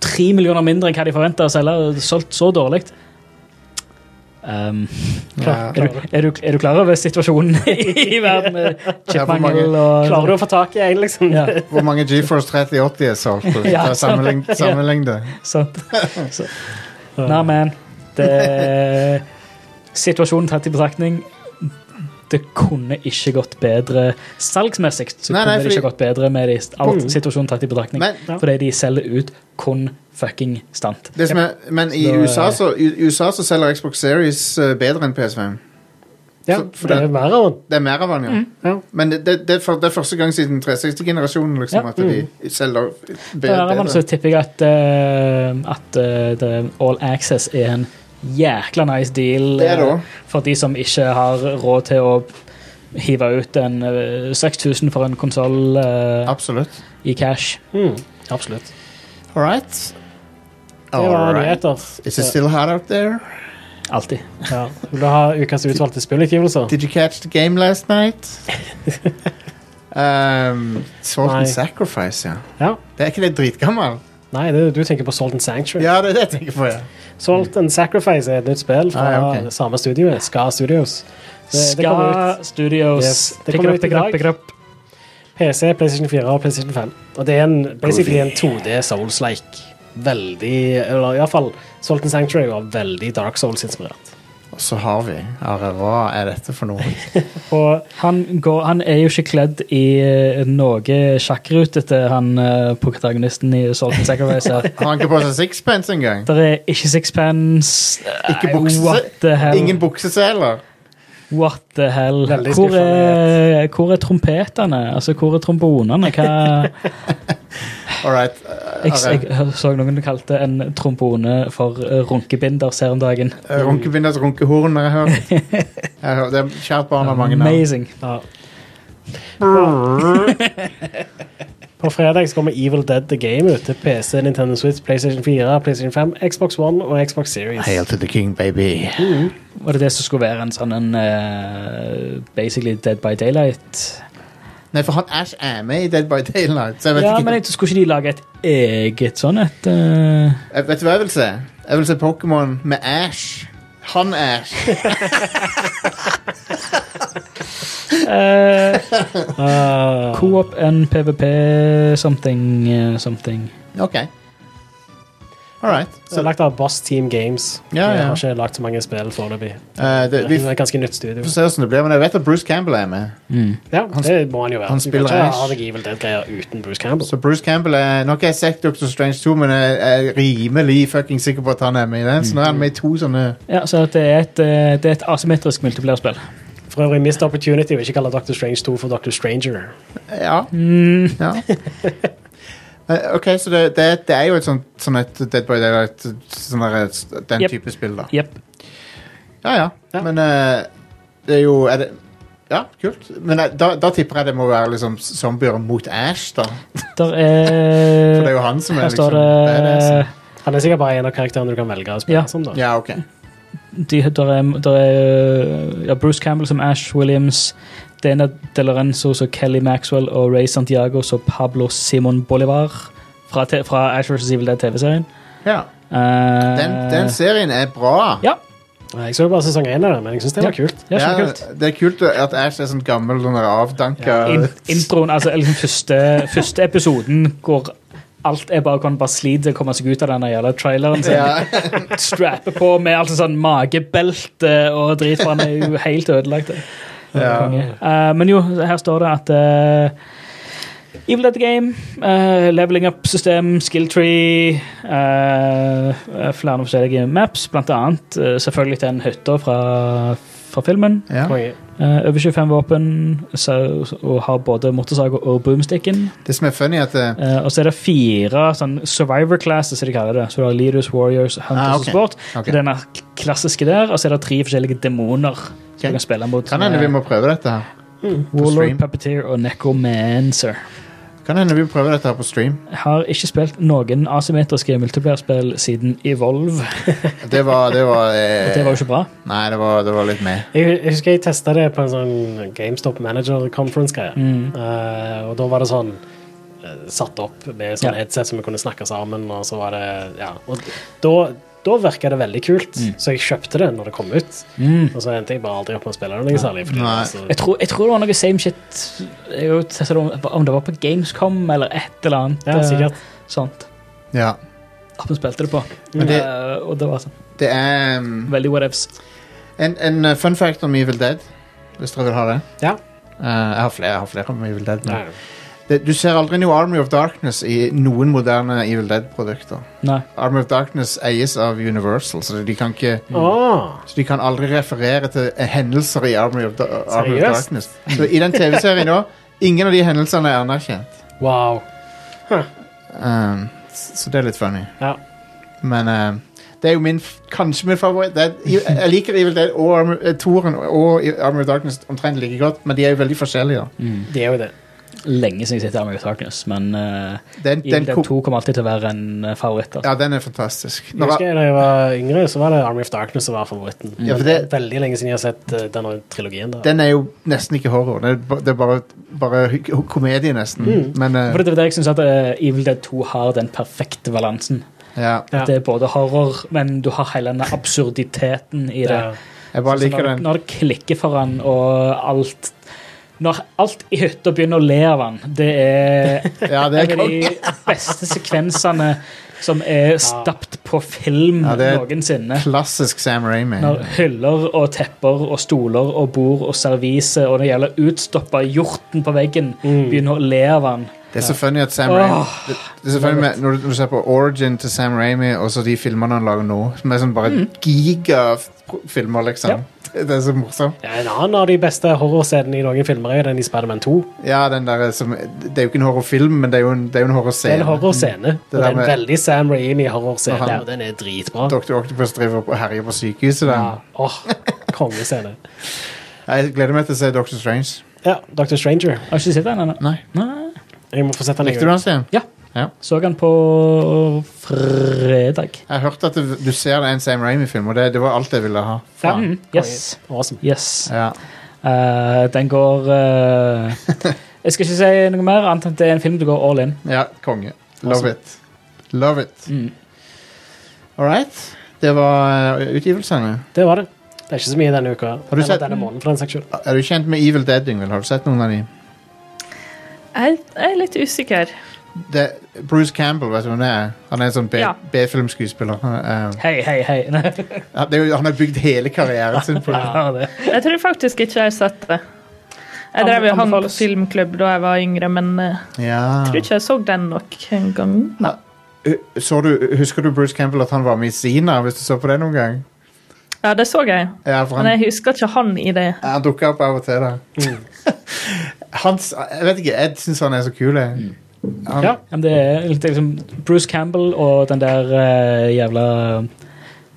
tre millioner mindre enn hva de forventa å selge. og Solgt så dårlig. Um,
Ja.
er, du, er, du, er du klar over situasjonen i verden med
mange-
chipmangel og
Klarer du å få tak i en, liksom?
Ja.
Hvor mange GeForce 3080 er solgt? og
Ja.
ta Sammenlign sammenlign det.
Sant. Så. Nei, men det, Situasjonen tatt i betraktning Det kunne ikke gått bedre salgsmessig. Så
Nei, nei,
kunne det
fordi- Mm.
ikke gått bedre med de, alt situasjonen tatt i betraktning.
Men-
Fordi de selger ut kun fucking stand.
det som er, men i
Da, eh,
USA så, i USA så selger Xbox Series eh, bedre enn PS5.
Ja,
Så- for
for det
det-
er mer av den.
Det er mer av den, ja.
Ja.
Men det, det, det, er for, det er første gang siden 360-generasjonen liksom,
Ja.
at de selger be-
Der er
bedre.
man, så tipper jeg at, eh, at eh, det- All Access er en jækla nice deal
Det er det
eh,
også.
for de som ikke har råd til å hive ut en eh, 6000 for en konsoll
Absolutt.
i cash.
Mm, absolutt.
All right.
Det var
Alright.
nyheter.
Is it still hot out there?
Alltid.
Ja. Vil du ha ukas utvalgte spillutgivelser?
Did you catch the game last night? um, Salt
Nei.
and Sacrifice, ja.
Ja.
Det er ikke det dritgammel?
Nei, det, du tenker på Salt and Sanctuary.
Ja, det er det jeg tenker på, ja.
Salt and Sacrifice er et nytt spill fra
Ah, ja, ok.
det samme studioet, Ska Studios. Det, det kommer ut
Ska Studios.
Yes, det
Pick it
kommer
up,
ut
pick
i
it up,
dag.
pick it up.
PC, PlayStation 4 og PlayStation 5. Og det er en, basically en 2D Souls-like. Veldig Eller iallfall Salt and Sanctuary var veldig Dark Souls-inspirert.
Og så har vi Are, hva er dette for noe?
Og
Han, går, han er jo ikke kledd i eh, noe sjakkrutete, han eh, protagonisten i Salt and Sacrifice. her.
Har han ikke på seg sixpence engang?
Der er ikke sixpence.
Ikke
Nei,
bukse-
What the hell?
Ingen bukseseler?
What the hell?
Veldig
Hvor er, hvor er trompetene? Altså, hvor er trombonene? Hva
All right.
Jeg,
Are.
jeg så noen du kalte en trombone for eh, runkebinder ser om dagen.
Um,
Runkebinders runkehorn har jeg hørt. Jeg har- Det er kjært barn har mange navn.
Amazing.
ja. På fredag så kommer Evil Dead The Game ut til PC, Nintendo Switch, PlayStation 4, PlayStation 5, Xbox One og Xbox Series.
Hail to the king, baby.
Var det det som skulle være en sånn en eh, Basically Dead by Daylight?
Nei, for han Ash er med i Dead by Daylight, så jeg vet
Ja,
ikke.
men jeg, skulle ikke de lage et eget sånn et eh,
Jeg, vet du hva jeg vil se? Jeg vil se Pokémon med Ash. Han Ash.
eh,
Ah,
Co-op and PVP something eh, something.
Ok. All right.
det er
Så,
lagt av Boss Team Games.
Ja, ja.
Jeg har ikke lagt så mange spill foreløpig.
eh, det,
Det
vi
er et ganske nytt studio.
får se hvordan det blir, men jeg vet at Bruce Campbell er med.
Ja, det må han jo være.
han
Du kan
spiller
ikke
Ash.
ha noe Evil Dead-greier uten Bruce Campbell.
Så Bruce Campbell er Nå har ikke jeg sett Doctor Strange 2, men jeg jeg er rimelig fucking sikker på at han er med i den. Så nå er han med i to sånne
Ja, så at det er et, eh, det er et asymmetrisk multiplierspill.
For øvrig, Missed Opportunity vil ikke kalle Dr. Strange 2 for Dr. Stranger.
Ja.
Mm.
ja. Eh, Ok, så det, det, det er jo et sånt, sånn et Dead by Daylight sånn der, et- Den
Yep.
type spill, da.
Jepp.
Ja, ja.
Ja.
Men eh, det er jo er det, Ja, kult. Men eh, da, da tipper jeg det må være liksom zombier mot Ash, da.
Der
For det er
er
jo han som er
Her
liksom
står det eh,
badass.
Han er sikkert bare en av karakterene du kan velge å spille
Ja.
som. da.
Ja, ok.
de, der er, der er eh, ja, Bruce Campbell som Ash Williams, Dana De Lorenzo som Kelly Maxwell og Ray Santiago som Pablo Simon Bolivar fra, te- fra Ash vs. Evil Dead-TV-serien.
Ja.
Eh,
Den, den serien er bra.
Ja,
Jeg så jo bare sesong én av det, men jeg syns det var
Ja.
kult.
det er
Ja,
kjempekult.
det er kult at Ash er sånn gammel sånn der avdanka
In, introen, altså liksom første, første episoden hvor alt er bare kan bare slite å komme seg ut av den jævla traileren. sin.
ja.
Strapper på med alt sånn magebelte og drit, for han er jo helt ødelagt.
ja.
Eh, men jo, her står det at eh, Evil Dead Game, eh, leveling up-system, skill tree eh, eh, Flere forskjellige maps, blant annet eh, selvfølgelig den hytta fra, fra filmen.
Ja.
Konge.
Eh, over 25 våpen, så, og har både motorsag og boomsticken.
Det som er funny, er at eh,
Eh, og så er det fire sånn survivor classes, som de kaller det. Så du har Leaders, Warriors, Hunters
Ah,
og
ok.
Sport.
Ok.
Så Den er klassiske der, og så er det tre forskjellige demoner som
Ok.
du kan spille mot. eh,
Kan hende vi må prøve dette her.
Warlord,
stream.
Puppeteer og Necromancer.
Kan hende vi prøver dette her på stream.
Har ikke spilt noen asymmetriske multiplierspill siden Evolve.
Det var Det var, eh,
Det var jo ikke bra.
Nei, det var, det var litt med.
Jeg, jeg husker jeg testa det på en sånn GameStop Manager Conference-greie.
Mm.
Eh, og da var det sånn eh, satt opp med sånn
Ja.
headset som vi kunne snakke sammen, og så var det Ja. Og d- da, da virka det veldig kult,
Mm.
så jeg kjøpte det når det kom ut.
Mm.
Og så endte jeg bare aldri opp med å spille det noe særlig. Fordi
Nei.
det
Jeg tror, jeg tror det var noe same shit Jeg har jo testet det om, om det var på Gamescom eller et eller annet.
var så, ja, sikkert.
eh, sånt.
Ja.
At vi spilte det på.
Men det-
Eh, og det var sånn,
Det er um,
veldig whatevs.
en, en eh, fun fact om Evil Dead, hvis dere vil ha det.
Ja.
Eh, jeg, har flere, jeg har flere om Evil Dead. Men
Nei.
det, du ser aldri noe Army of Darkness i noen moderne Evil Dead-produkter.
Nei.
Army of Darkness eies av Universal, så de kan ikke
Mm.
Åh,
Så de kan aldri referere til eh, hendelser i Army of, da Army of
Seriøst?
Darkness. Så I den TV-serien nå Ingen av de hendelsene er anerkjent.
wow.
Um, s- så det er litt funny.
Ja.
Men eh, det er jo min, f- kanskje min favoritt. Det er, jeg, jeg liker Evil Dead og Army, eh, Toren og i- Army of Darkness omtrent like godt, men de er jo veldig forskjellige. da.
Det er jo det.
Mm. Lenge siden jeg sitter her med Darkness, men eh,
Den, den,
Evil Dead
ko-
2 kommer alltid til å være en eh, favoritt. Altså.
ja, den er fantastisk.
Jeg
Når,
husker Da jeg var yngre, så var det Army of Darkness som var favoritten.
Ja, for det-
Veldig lenge siden jeg har sett eh, denne trilogien. da.
den er jo nesten ikke horror. Det er, ba- det er bare, bare hy- komedie, nesten. Men eh,
Mm. For det er det jeg synes at eh, Evil Dead 2 har den perfekte balansen.
ja,
Ja.
Det er både horror, men du har hele denne absurditeten i det.
Ja.
jeg bare
Så
liker
når,
den.
når det klikker for han og alt Når alt i hytta begynner å le av han, det er
Ja, det er
en av de beste sekvensene som er stapt på film
Ja, det er-
noensinne.
klassisk Sam Raimi.
Når hyller og tepper og stoler og bord og servise og det gjelder utstoppa hjorten på veggen,
Mm.
begynner å le av han.
Det er så funny at Sam
Åh,
Raimi det, det er så funny med, når, du, når du ser på origin til Sam Raimi og så de filmene han lager nå, som er sånn bare
Mm.
gigafilmer, liksom. Det er så morsomt.
Ja, en annen av de beste horrorscenene i noen filmer er jo den i Spiderman 2.
Ja, den der er som Det er jo ikke en horrorfilm, men det er jo en, det er jo en
Det er en
horrorscene.
horrorscene. og
der
Det er en
med-
veldig Sam Raimi-horrorscene.
Aha.
og Den er dritbra.
Dr. Octopus driver og herjer på sykehuset.
Ja.
Den.
Åh, kongescene.
Jeg gleder meg til å se Dr. Strange.
Ja, Dr. Stranger.
Har du ikke sett den ennå?
Nei.
Nei.
Jeg må få sett den.
Likte du den, Stian?
Ja.
Ja.
Så han på fredag.
Jeg hørte at du, du ser det er en Sam Raimi-film, og det, det var alt jeg ville ha. Faen.
Mm, yes.
Awesome.
yes.
Ja.
Eh, den går eh, Jeg skal ikke si noe mer, annet enn at det er en film du går all in.
Ja, konge. Love
Awesome.
it. Love it.
Mm.
All right. Det var eh, utgivelsene.
Det var det. Det er ikke så mye denne uka.
du
Eller
sett-
denne måneden, for den saks skyld.
Er du kjent med Evil Dead, Yngvild? Har du sett noen av de?
Jeg, jeg er litt usikker.
Det, Bruce Campbell, vet du hvem det er? Han er en sånn B-
Ja.
B-filmskuespiller. Han, er,
Hei, hei, hei. Nei,
eh, han- det er jo- han har bygd hele karrieren sin på det.
ja, det.
Jeg tror faktisk ikke jeg har sett det. Jeg drev jo hang på
Anbefales.
filmklubb da jeg var yngre, men eh,
Ja.
jeg tror ikke jeg så den nok en gang.
Hu- Så du, husker du Bruce Campbell at han var med i Sina, hvis du så på det noen gang?
Ja, det så jeg,
Ja, for
men
han,
jeg husker ikke han i det.
han dukker opp av og til, da.
Mm.
Hans, jeg vet ikke, Ed syns han er så kul. jeg. Han,
Ja.
Mm. Ja, men det er litt liksom Bruce Campbell og den der eh, jævla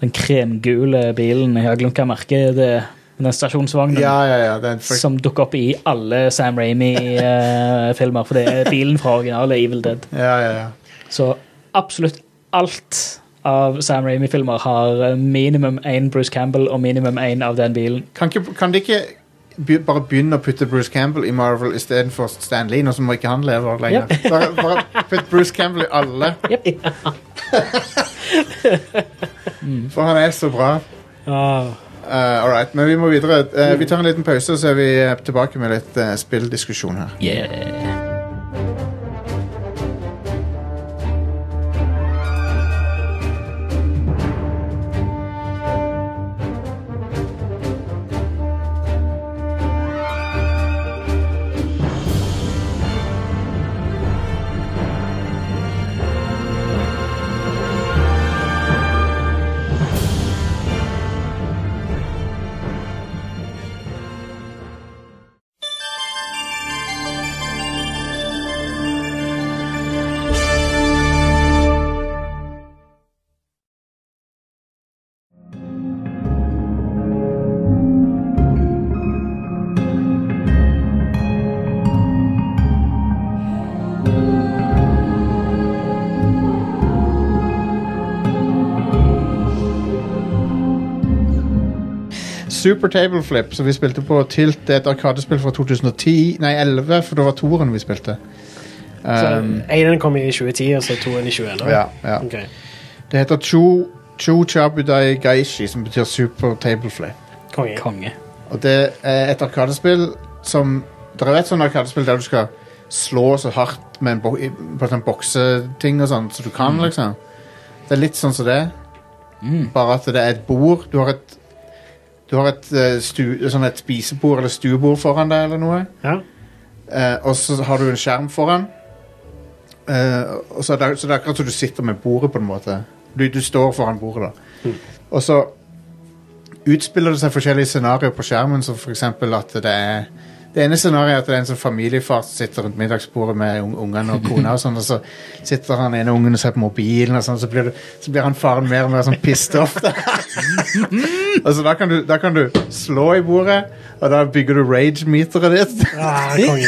Den kremgule bilen, jeg har glemt hva merket det er. Den stasjonsvognen
ja, ja, ja. Det er en frykt-
som dukker opp i alle Sam Ramy-filmer. for det er bilen fra originale Evil Dead.
ja, ja, ja.
Så absolutt alt av Sam Ramy-filmer har eh, minimum én Bruce Campbell og minimum én av den bilen.
Kan, ikke, kan de ikke be, bare begynne å putte Bruce Campbell i Marvel istedenfor Stan Lee, nå som ikke han lever lenger? Bare, bare putt Bruce Campbell i alle. Mm. For han er så bra.
Ah,
Uh, all right, men vi må videre. Eh, vi tar en liten pause, så er vi eh, tilbake med litt eh, spilldiskusjon her. Super Table Flip, som vi spilte på Tilt, det er et arkadespill fra 2010 Nei, 11, for det var toeren vi spilte. Um,
Så Enen kom i 2010, og så toen i 2011?
Eh, ja, ja.
Ok.
Det heter Chu, Chu Chabudai Gaishi, som betyr Super Table Flip.
Konge.
Konge.
Og det er et arkadespill som Dere vet sånne arkadespill der du skal slå så hardt med en bo i- på sånn bokseting og sånn, så du kan, liksom. Det er litt sånn som det,
Mm.
bare at det er et bord. Du har et du har et, eh, stu, sånn et spisebord eller stuebord foran deg, eller noe.
Ja.
Eh, og så har du en skjerm foran. Eh, og så er, det, så det er akkurat som du sitter med bordet, på en måte. Du, du står foran bordet, da. Og så utspiller det seg forskjellige scenarioer på skjermen, som f.eks. at det er Det ene scenarioet er at det er en sånn familiefar som sitter rundt middagsbordet med un- ungene og kona, og sånn, og så sitter han ene ungen og ser på mobilen, og sånn, så blir, det, så blir han faren mer og mer sånn pissed off. da. altså, da kan, du, da kan du slå i bordet, og da bygger du rage-meteret ditt.
Ah, konge.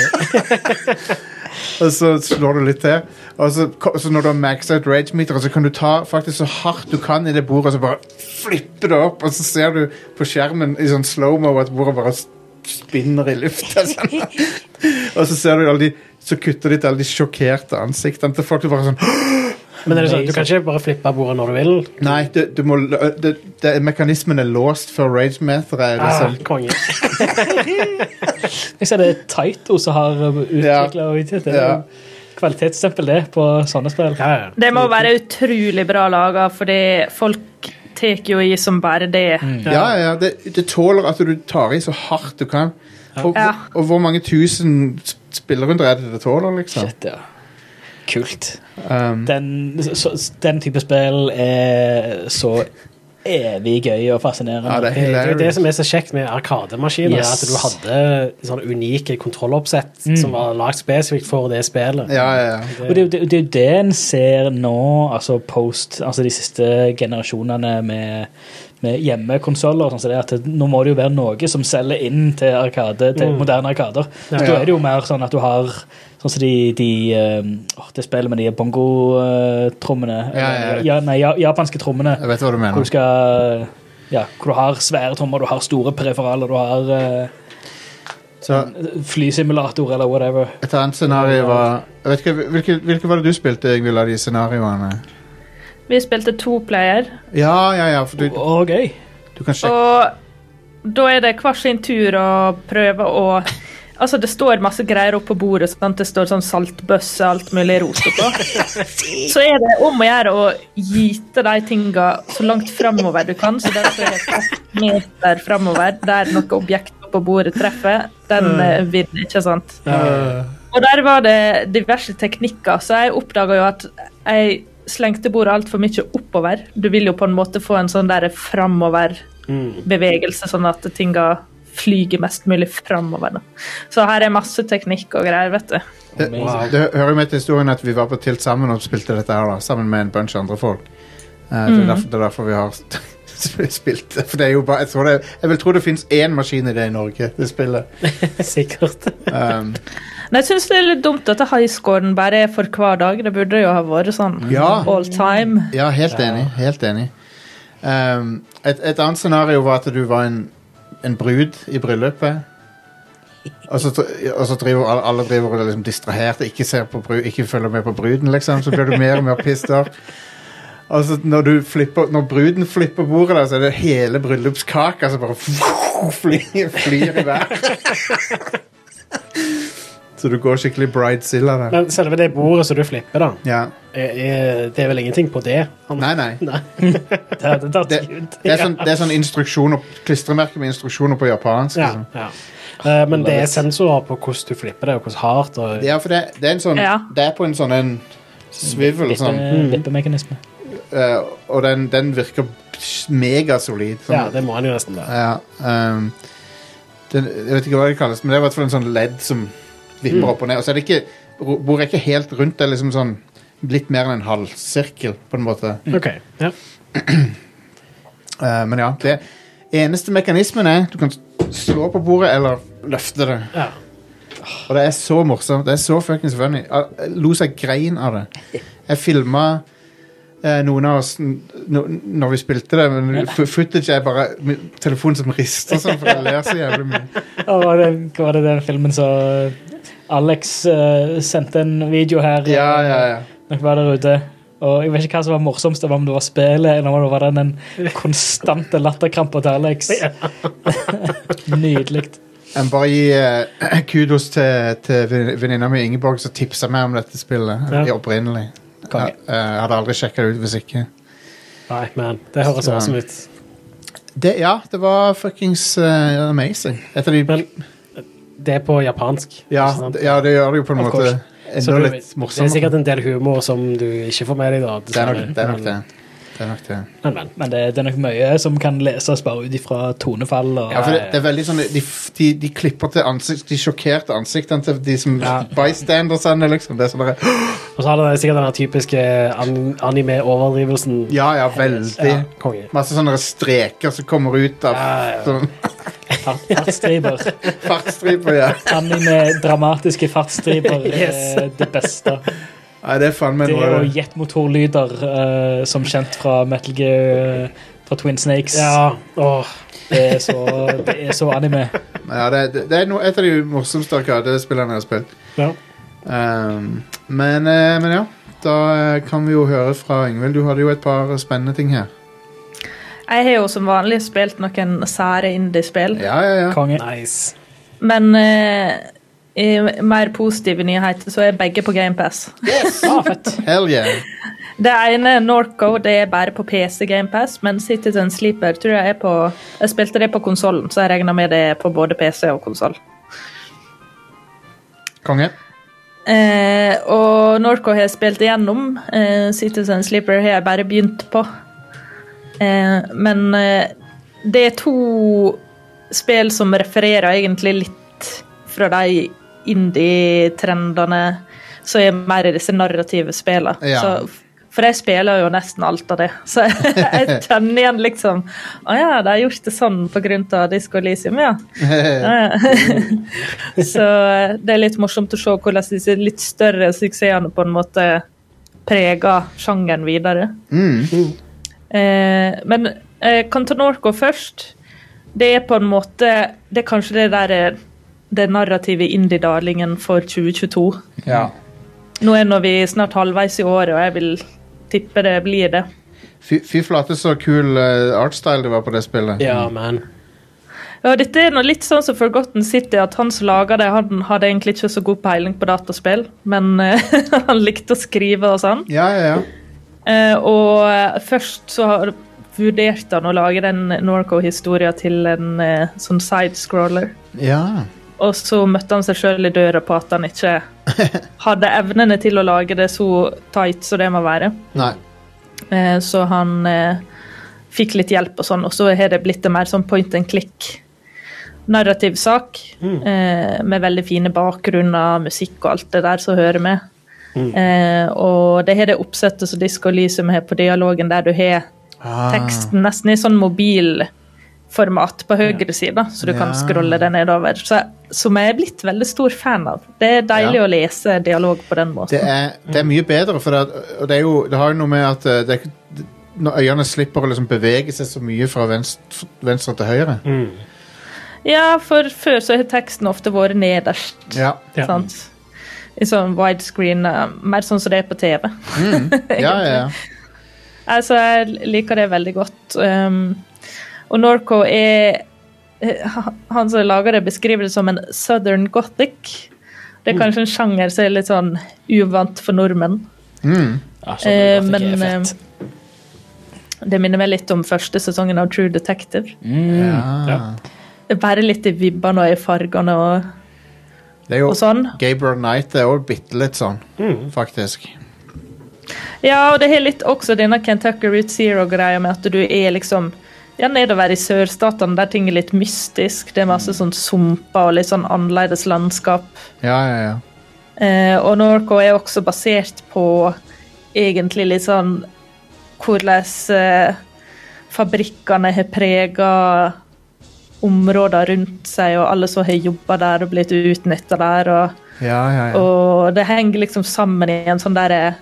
Og så slår du litt til. Og så, ko- så når du har maxa ut rage-meteret, så kan du ta faktisk så hardt du kan i det bordet, og så bare flippe det opp, og så ser du på skjermen i sånn slow-mo at bordet bare s- spinner i lufta. Sånn. og så ser du alle de Så kutter de til alle de sjokkerte ansiktene til folk. Du bare sånn
Men er det sånn, du kan ikke bare flippe bordet når du vil?
Nei, du, du må, l- det, det, mekanismen er låst før rage-meteret er
Ah,
liksom
konge.
Jeg ser det er Taito som har eh, utvikla det. er
Ja.
Kvalitetsstempel, det, på sånne spill.
Ja, ja.
Det må være utrolig bra laga, fordi folk tar jo i som bare det.
Mm.
Ja, ja, ja. Det, det tåler at du tar i så hardt du kan. Og,
Ja.
og hvor mange tusen sp- spillerunder er det det tåler, liksom?
Shit, ja. Kult.
Um,
Den, så, så- den type spill er så evig gøy og fascinerende.
Ja, det er
Eh, Det er jo
hilarious.
det som er så kjekt med arkademaskiner,
Yes.
at du hadde sånne unike kontrolloppsett som var lagd spesifikt for det spillet.
Mm. Ja, ja, ja.
Og det, er jo- det, det er jo det en ser nå, altså post altså de siste generasjonene med, med hjemmekonsoller. og Sånn, som det, at det, nå må det jo være noe som selger inn til, arkade, til
Mm.
moderne arkader.
Ja.
Så Da er det jo mer sånn at du har sånn som de, de ehm, åh, Det spillet med de bongotrommene.
Ja, ja, jeg vet.
ja, nei, ja, japanske trommene.
Jeg vet hva du
Hvor du
mener.
skal ja, hvor du har svære trommer, du har store preferaler, du har eh,
Så
flysimulator eller whatever.
et annet scenario var jeg vet ikke, hvilke, hvilke var det du spilte, Ingvild, av de scenarioene?
Vi spilte to player,
Ja, ja, ja, for du,
Å, gøy!
du kan sjekke
og da er det hver sin tur å prøve å Altså, det står masse greier oppe på bordet. Sant? Det står sånn saltbøsse og alt mulig rot oppå. Så er det om å gjøre å gyte de tinga så langt framover du kan. Så derfor er det ett meter framover der noe objekt på bordet treffer. Den eh, vinner, ikke sant? Og der var det diverse teknikker, så jeg oppdaga jo at jeg slengte bordet altfor mye oppover. Du vil jo på en måte få en sånn der framover-bevegelse, sånn at tinga flyger mest mulig framover. da. Så her er masse teknikk og greier, vet du.
det,
Wow.
det hører jo med til historien at vi var på Tilt sammen og spilte dette her da, sammen med en bunch andre folk. Eh, det, er derfor, det er derfor vi har spilt det. For det er jo bare, jeg, tror det, jeg vil tro det fins én maskin i det i Norge, det spillet.
Sikkert.
Um,
Men jeg syns det er litt dumt at highscoren bare er for hver dag. Det burde jo ha vært sånn
Ja.
all time.
Ja, helt enig. Helt enig. Ehm, et, et annet scenario var at du var en, en brud i bryllupet. Og så, dr- og så driver alle, alle driver og er liksom distrahert og ikke, ser på bru, ikke følger med på bruden, liksom. Så blir du mer og mer pissed off. Og så når, du flipper, når bruden flipper bordet, der, så er det hele bryllupskaka som bare flyr, flyr i været. Så du går skikkelig bridezilla der.
Men selve det bordet som du flipper, da,
Ja.
er, er, det er vel ingenting på det?
Nei, nei.
Det hadde tatt
Det-
ut.
Det er sånn, det er sånn instruksjoner klistremerker med instruksjoner på japansk.
Ja,
liksom.
ja. Eh, men det er sensorer på hvordan du flipper det, og hvordan hardt. Og,
Ja, for det, det er en sånn
Ja.
Det er på en sånn en svivel,
Vippe,
sånn,
vippemekanisme.
eh, og den, den virker megasolid. Sånn,
ja, det må en jo nesten være.
Ja, ehm, den, jeg vet ikke hva det kalles, men det er i hvert fall en sånn ledd som vipper
Mm.
opp og ned. Og så er det ikke ro- Bordet er ikke helt rundt, det er liksom sånn litt mer enn en halvsirkel, på en måte.
Ok, ja.
Eh, men ja, det eneste mekanismen er du kan s- slå på bordet eller løfte det.
ja.
Og det er så morsomt. Det er så fuckings funny. Jeg jeg lo seg grein av det. Jeg filma eh, noen av oss n- no, når vi spilte det, men f- footage er bare min telefon som rister sånn, for jeg ler så jævlig mye.
Hva var det, hva var det den filmen som Alex eh, sendte en video her
Ja, ja, ja.
når jeg var der ute? Og Jeg vet ikke hva som var morsomst, det var om det var spillet eller om det var den konstante latterkrampa til Alex. Nydelig.
Jeg må bare gi eh, kudos til, til ven- venninna mi Ingeborg som tipsa meg om dette spillet
Ja.
i opprinnelig.
Konge.
Jeg, jeg hadde aldri sjekka det ut hvis ikke.
Nei, men det høres
Ja.
awesome ut.
Det, ja, det var fuckings eh, amazing. Et av de
Men det er på japansk.
ja,
ikke sant?
d- ja, det gjør det jo på en
Of
måte
course.
Så
enda
du,
litt
det er
morsommere.
sikkert en del humor som du ikke får med deg, da.
Det er nok det. Er nok det.
Men-
Det er nok det.
Men, men.
Men det, det er nok mye som kan leses bare ut ifra tonefall. Og,
Ja, for det, det er veldig sånn De, f- de, de klipper til ansikt, de sjokkerte ansiktene til de som bystandersene, liksom. Det er sånn der,
Og så har det sikkert den der typiske an- anime-overdrivelsen.
Ja, ja, veldig.
Ja, konge.
Masse sånne streker som kommer ut av
Ja, ja.
sånn
eh, Fart- Fartsstriper.
fartsstriper. Ja.
Anime, dramatiske fartsstriper
Yes.
er det beste.
Nei, det er faen meg
Det
noe.
og jetmotorlyder, eh, som kjent fra Metal Gear eh, fra Twin Snakes.
Ja, åh.
Det, er så, det er så anime.
Ja, det, det, det er noe, et av de morsomste arkadespillene jeg har spilt.
Ja.
Um, men, eh, men ja, da eh, kan vi jo høre fra Yngvild. Du hadde jo et par spennende ting her.
Jeg har jo som vanlig spilt noen sære indie-spill.
Ja, ja, ja.
Konge.
Nice.
Men eh, i mer positive nyheter så er begge på GamePass.
Ah, fett.
Hell yeah.
Det ene, Norco, det er bare på PC GamePass, men Citizen Sleeper tror jeg er på Jeg spilte det på konsollen, så jeg regner med det er på både PC og konsoll.
Konge.
Eh, og Norco har jeg spilt igjennom. Eh, Citizen Sleeper har jeg bare begynt på. Eh, men eh, det er to spill som refererer egentlig litt fra de indie-trendene som er mer i disse narrative spillene.
Ja.
Så, for jeg spiller jo nesten alt av det, så jeg, jeg kjenner igjen liksom Å ja, de har gjort det sånn på grunn av Disco Elysium, ja. Så eh, det er litt morsomt å se hvordan disse litt større suksessene på en måte preger sjangeren videre. Eh, men eh, Cantonorco først, det er på en måte Det er kanskje det der eh, det narrative indie-darlingen for 2022.
Ja.
Nå er når vi snart halvveis i året, og jeg vil tippe det blir det.
Fy, fy flate så kul eh, artstyle det var på det spillet.
Ja, man.
Ja, dette er nå litt sånn som Forgotten City, at han som laga det, han hadde egentlig ikke så god peiling på dataspill, men eh, han likte å skrive og sånn.
Ja, ja, ja.
Eh, og eh, først så har- vurderte han å lage den Norco-historien til en eh, sånn sidescroller.
ja.
Og så møtte han seg sjøl i døra på at han ikke hadde evnene til å lage det så tight som det må være.
Nei.
Eh, så han eh, fikk litt hjelp og sånn, og så har det blitt en mer sånn point and click narrativ sak, eh, med veldig fine bakgrunner, musikk og alt det der som hører med. Eh, og det har det oppsettet som Disco Lysum har på dialogen, der du har
Ah.
teksten nesten i sånn mobilformat på høyre side, så du
Ja.
kan scrolle det nedover. Så, som jeg er blitt veldig stor fan av. Det er deilig
Ja.
å lese dialog på den måten.
Det er, det er mye bedre, for det, er- og det, er jo, det har jo noe med at eh, det, er ikke- når øynene slipper å liksom bevege seg så mye fra venstre, venstre til høyre.
Ja, for før så har teksten ofte vært nederst.
Ja.
Ja.
sant? I sånn widescreen, eh, mer sånn som det er på TV.
ja, ja, ja.
Altså, jeg liker det veldig godt. Um, og Norco er eh, ha- Han som lager det, beskriver det som en southern gothic. Det er kanskje en sjanger som er litt sånn uvant for nordmenn.
Ja, så
Eh,
Ah, Sånn, det
men
er
eh,
fett.
det minner meg litt om første sesongen av True Detective.
ja.
Det er Bare litt i vibbene og i fargene og,
Det er jo
og sånn.
Gabriel Knight er også bitte litt sånn, faktisk.
Ja, og det har litt også denne Kentucky Route Zero-greia med at du er liksom ja, nedover i sørstatene der ting er litt mystisk. Det er masse sånn sumper og litt sånn annerledes landskap.
Ja, ja, ja.
Eh, og Norco er også basert på egentlig litt sånn hvordan eh, fabrikkene har prega områder rundt seg, og alle som har jobba der og blitt utnytta der. og
Ja, ja, ja.
og det henger liksom sammen i en sånn der eh,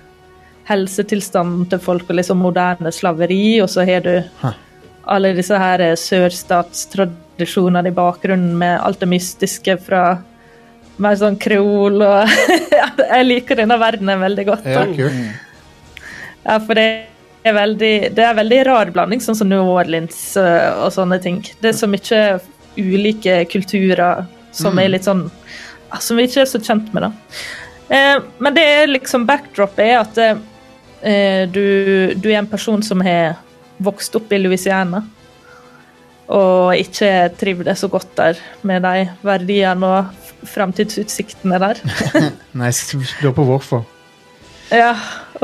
helsetilstanden til folk og liksom moderne slaveri, og så har du alle disse her eh, sørstatstradisjonene i bakgrunnen med alt det mystiske fra mer sånn kreol og Ja, Jeg liker denne verdenen veldig godt.
Ja,
da.
kult.
Ja, for det er veldig, det er veldig rar blanding, sånn som New Orleans eh, og sånne ting. Det er så mye ulike kulturer som er litt sånn ja, Som vi ikke er så kjent med, da. Eh, men det er liksom backdropet er at eh, du, du er en person som har vokst opp i Louisiana. Og ikke trivdes så godt der med de verdiene og framtidsutsiktene der.
Nei, s- lurer på hvorfor.
Ja,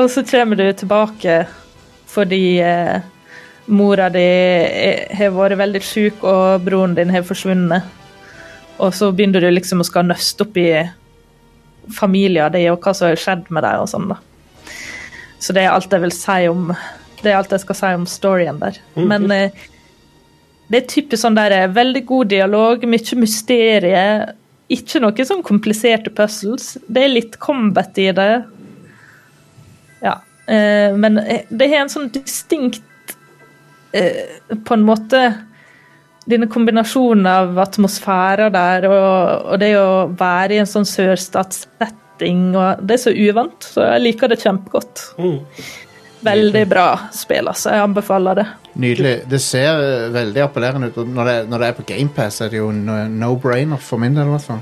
og så kommer du tilbake fordi eh, mora di er- har vært veldig syk, og broren din har forsvunnet. Og så begynner du liksom å skal nøste opp i familien din og hva som har skjedd med dem. og sånn da. Så det er alt jeg vil si om det er alt jeg skal si om storyen der. Men eh, det er typisk sånn der eh, veldig god dialog, mye mysterier. Ikke noe sånn kompliserte puzzles. Det er litt combat i det. Ja. eh, men eh, det har en sånn distinkt eh, På en måte Denne kombinasjonen av atmosfærer der og, og det å være i en sånn sørstatssetting og Det er så uvant, så jeg liker det kjempegodt.
Mm.
Veldig bra spill, altså. Jeg anbefaler det.
Nydelig. Det ser eh, veldig appellerende ut. og Når det, når det er på GamePass, er det jo no- no-brainer for min del. i hvert fall.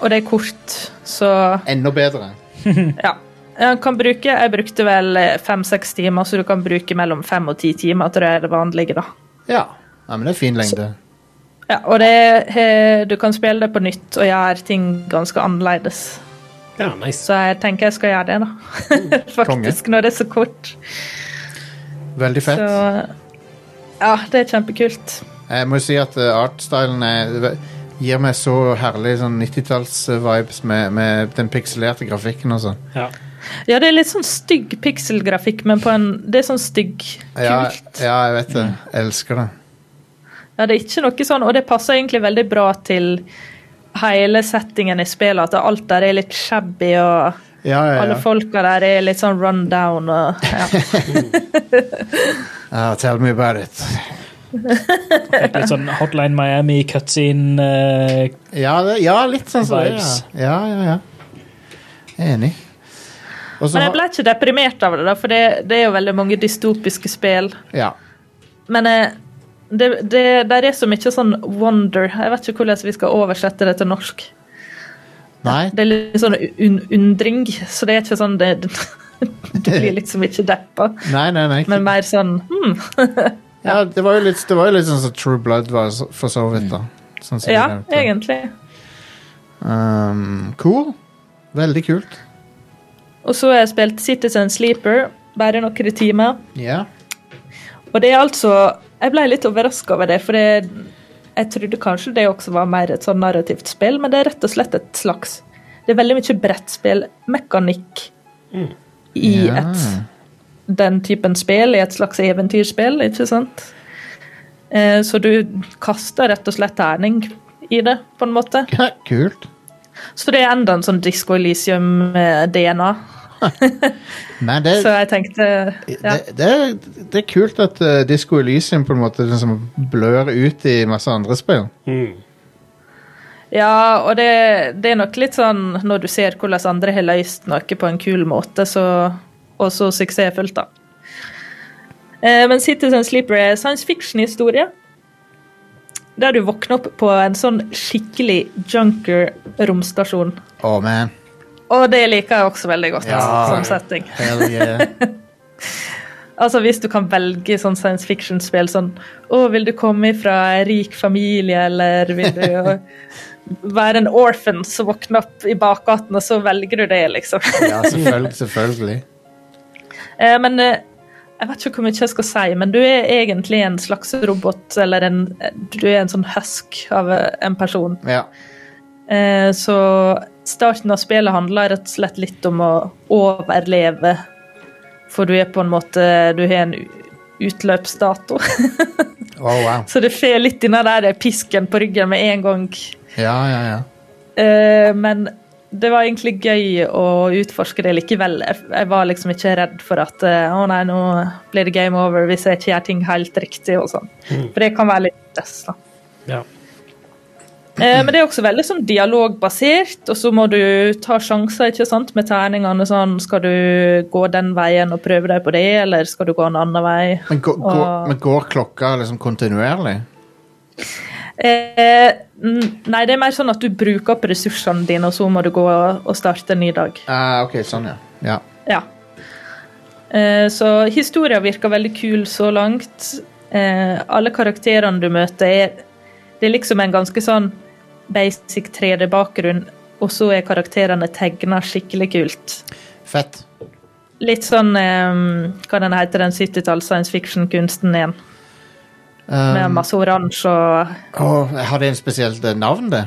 Og det er kort, så
Enda bedre.
ja. Jeg, kan bruke, jeg brukte vel eh, fem-seks timer, så du kan bruke mellom fem og ti timer, tror jeg er det vanlige, da.
Ja. ja men det er fin lengde.
Ja, og det, he- du kan spille det på nytt og gjøre ting ganske annerledes.
Ja, nice.
Så jeg tenker jeg skal gjøre det,
Mm.
da. Faktisk, når det er så kort.
Veldig fett.
Så Ja, det er kjempekult.
Jeg må si at eh, artstylen er, ve- gir meg så herlig sånn 90-talls-vibes med, med den pikselerte grafikken og sånn.
Ja.
Ja, det er litt sånn stygg pikselgrafikk, men på en Det er sånn stygg kult. Mm.
Ja, ja, jeg vet det. Jeg elsker det.
Ja, det er ikke noe sånn, og det passer egentlig veldig bra til hele settingen i spillet, at alt der er litt shabby, og
Ja, ja,
alle
ja.
folka der er litt sånn run down og ja.
Ah, tell me about it.
Fikk litt sånn Hotline Miami cutscene eh,
Ja, det, ja litt sånn som det.
Vibes.
Ja, ja, ja. ja. Enig. Og så
Men jeg
har
ble ikke deprimert av det, da, for det, det er jo veldig mange dystopiske spill.
Ja.
Men eh, det, det, der er så mye sånn wonder. Jeg vet ikke hvordan vi skal oversette det til norsk.
Nei,
Det er litt sånn un undring, så det er ikke sånn det, det blir liksom ikke deppa,
nei, nei. nei.
men mer sånn hmm.
Ja, det var jo litt, det var jo litt sånn som True Blood var så- for så vidt, da. Sånn som
Ja,
vi nevnte.
egentlig.
Um, cool. Veldig kult.
Og så har jeg spilt Citizen Sleeper bare noen timer.
Ja.
Og det er altså Jeg ble litt overraska over det, for det, jeg trodde kanskje det også var mer et sånn narrativt spill, men det er rett og slett et slags Det er veldig mye brettspillmekanikk i
Ja.
et den typen spill, i et slags eventyrspill, ikke sant? Eh, Så du kaster rett og slett terning i det, på en måte.
Kult.
Så det er enda en sånn Disco eh, Elisium-DNA.
Nei, det,
Så jeg tenkte ja.
Eh, det, det, er- det er kult at uh, Disco Elysium på en måte liksom blør ut i masse andre spill.
Mm.
Ja, og det, det er nok litt sånn når du ser hvordan andre har løst noe på en kul måte, så, og så suksessfullt, da. Eh, men Citizen Sleeper er science fiction-historie. Der du våkner opp på en sånn skikkelig junker-romstasjon.
Oh man.
Og det liker jeg også veldig godt
Ja.
som setting.
Hell yeah.
Altså Hvis du kan velge sånn science fiction-spill sånn Å, vil du komme fra en rik familie, eller vil du være en orphan som våkner opp i bakgaten, og så velger du det, liksom.
Ja, selvfølgelig. selvfølgelig.
Eh, men eh, jeg vet ikke hvor mye jeg skal si, men du er egentlig en slags robot, eller en, du er en sånn husk av eh, en person.
Ja.
Eh, så starten av spillet handler rett og slett litt om å overleve. For du er på en måte Du har en utløpsdato.
Oh, wow.
Så det fer litt eh, innan der det er pisken på ryggen med en gang.
Ja, ja, ja.
Eh, men det var egentlig gøy å utforske det likevel. Jeg, jeg var liksom ikke redd for at eh, å nei, nå blir det game over hvis jeg ikke gjør ting helt riktig og sånn. For det kan være litt stress, da.
Ja.
Eh, Men det er også veldig sånn dialogbasert, og så må du ta sjanser ikke sant, med terningene. sånn, Skal du gå den veien og prøve deg på det, eller skal du gå en annen vei?
Men, gå, gå,
Og-
men går klokka liksom kontinuerlig?
Eh, n- nei, det er mer sånn at du bruker opp ressursene dine, og så må du gå og starte en ny dag.
Ah, ok, sånn, ja. ja.
Ja. Eh, så historien virker veldig kul så langt. Eh, alle karakterene du møter, er Det er liksom en ganske sånn basic 3D-bakgrunn, og så er karakterene tegna skikkelig kult.
Fett.
Litt sånn eh, Hva den heter den 70-talls science fiction-kunsten igjen? Med
Um,
masse oransje og
å, har det en spesielt eh, navn, det?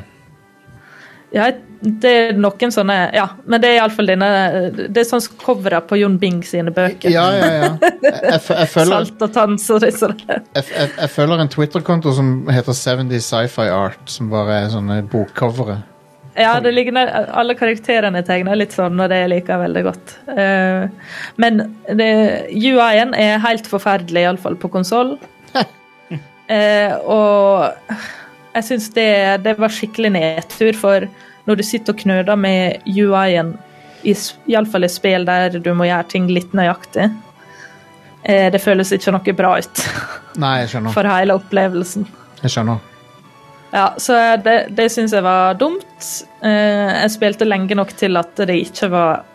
Ja, det er noen sånne Ja, men det er iallfall denne Det er sånn covera på Jon Bing sine bøker.
Ja, ja, ja. Jeg, jeg, jeg, følger,
Salt og tann, så det er sånn.
jeg, jeg, jeg følger en Twitter-konto som heter 70 Sci-Fi Art, som bare er sånne bokcovere.
Ja, det ligner, alle karakterene er tegna litt sånn, og det liker jeg veldig godt. Eh, men det- UI-en er helt forferdelig, iallfall på konsoll. Eh, og jeg syns det, det var skikkelig nedtur, for når du sitter og knøder med UI-en, iallfall i spill der du må gjøre ting litt nøyaktig, eh, det føles ikke noe bra ut
Nei, jeg skjønner.
for hele opplevelsen.
Jeg skjønner.
Ja, så det, det syns jeg var dumt. Eh, jeg spilte lenge nok til at det ikke var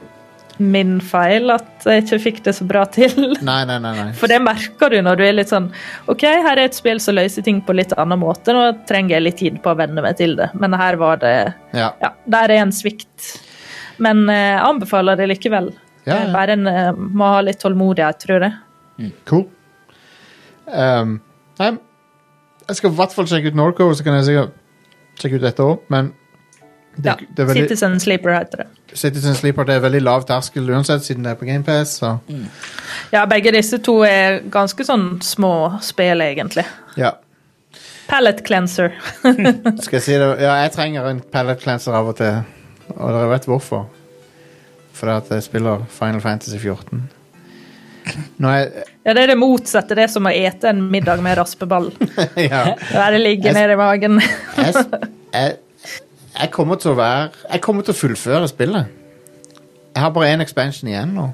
min feil at jeg ikke fikk det så bra til.
Nei, nei, nei. nei.
For det merker du når du er litt sånn OK, her er et spill som løser ting på litt annen måte. Nå trenger jeg litt tid på å venne meg til det. Men her var det
Ja.
Ja, der er en svikt. Men eh, jeg anbefaler det likevel.
Ja, ja.
Eh, Bare en eh, må ha litt tålmodighet, tror jeg.
Cool. Ehm, nei, jeg skal i hvert fall sjekke ut Norco, så kan jeg sikkert sjekke ut dette òg, men det,
Ja,
det er veldig,
Citizen Sleeper heter det.
Citizen Sleeper det er veldig lav terskel uansett, siden det er på GamePass. Så.
Mm. Ja, begge disse to er ganske sånn små spill, egentlig.
Ja.
Palette cleanser.
Skal jeg si det? Ja, jeg trenger en pallet cleanser av og til, og dere vet hvorfor. Fordi at jeg spiller Final Fantasy 14. Når jeg
Ja, det er det motsatte. Det er som å ete en middag med raspeball.
Ja.
Der det ligger nede i magen.
Jeg, jeg, jeg kommer til å være Jeg kommer til å fullføre spillet. Jeg har bare én expansion igjen nå.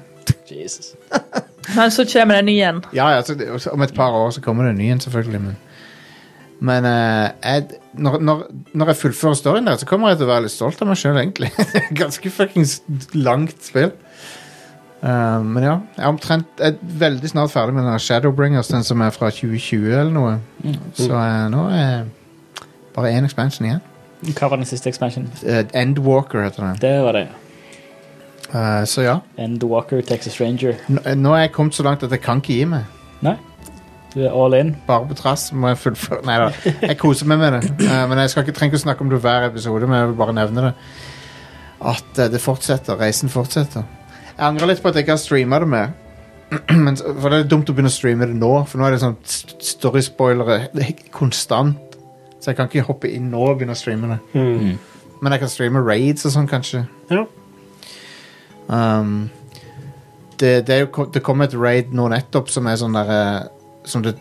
Jesus.
Men så kommer det en ny igjen.
Ja, ja, så det, om et par år så kommer det en ny en, selvfølgelig. Men, men eh, jeg, når, når, når jeg fullfører storyen der, så kommer jeg til å være litt stolt av meg sjøl, egentlig. Ganske fuckings langt spill. Eh, men ja, jeg er omtrent jeg er veldig snart ferdig med den her Shadowbringers, den som er fra 2020 eller noe. Så eh, nå er bare én expansion igjen.
Hva var den siste expansionen?
Eh, Endwalker heter den.
Det var det.
Eh, så ja.
Endwalker, Texas Ranger.
Nå, nå er jeg kommet så langt at jeg kan ikke gi meg.
Nei? Du er all in?
bare på trass må jeg fullføre Nei da, jeg koser meg med det. Eh, men jeg skal ikke, trenger ikke å snakke om det hver episode, men jeg vil bare nevne det. At eh, det fortsetter. Reisen fortsetter. Jeg angrer litt på at jeg ikke har streama det mer. Men, så- for det er dumt å begynne å streame det nå, for nå er det sånn st- storyspoilere det er konstant. Så jeg kan ikke hoppe inn nå og begynne å streame det. Men jeg kan streame raids og sånn, kanskje.
Ja.
Um, det, det, er jo, ko- det kom et raid nå nettopp som er sånn der eh, Som det,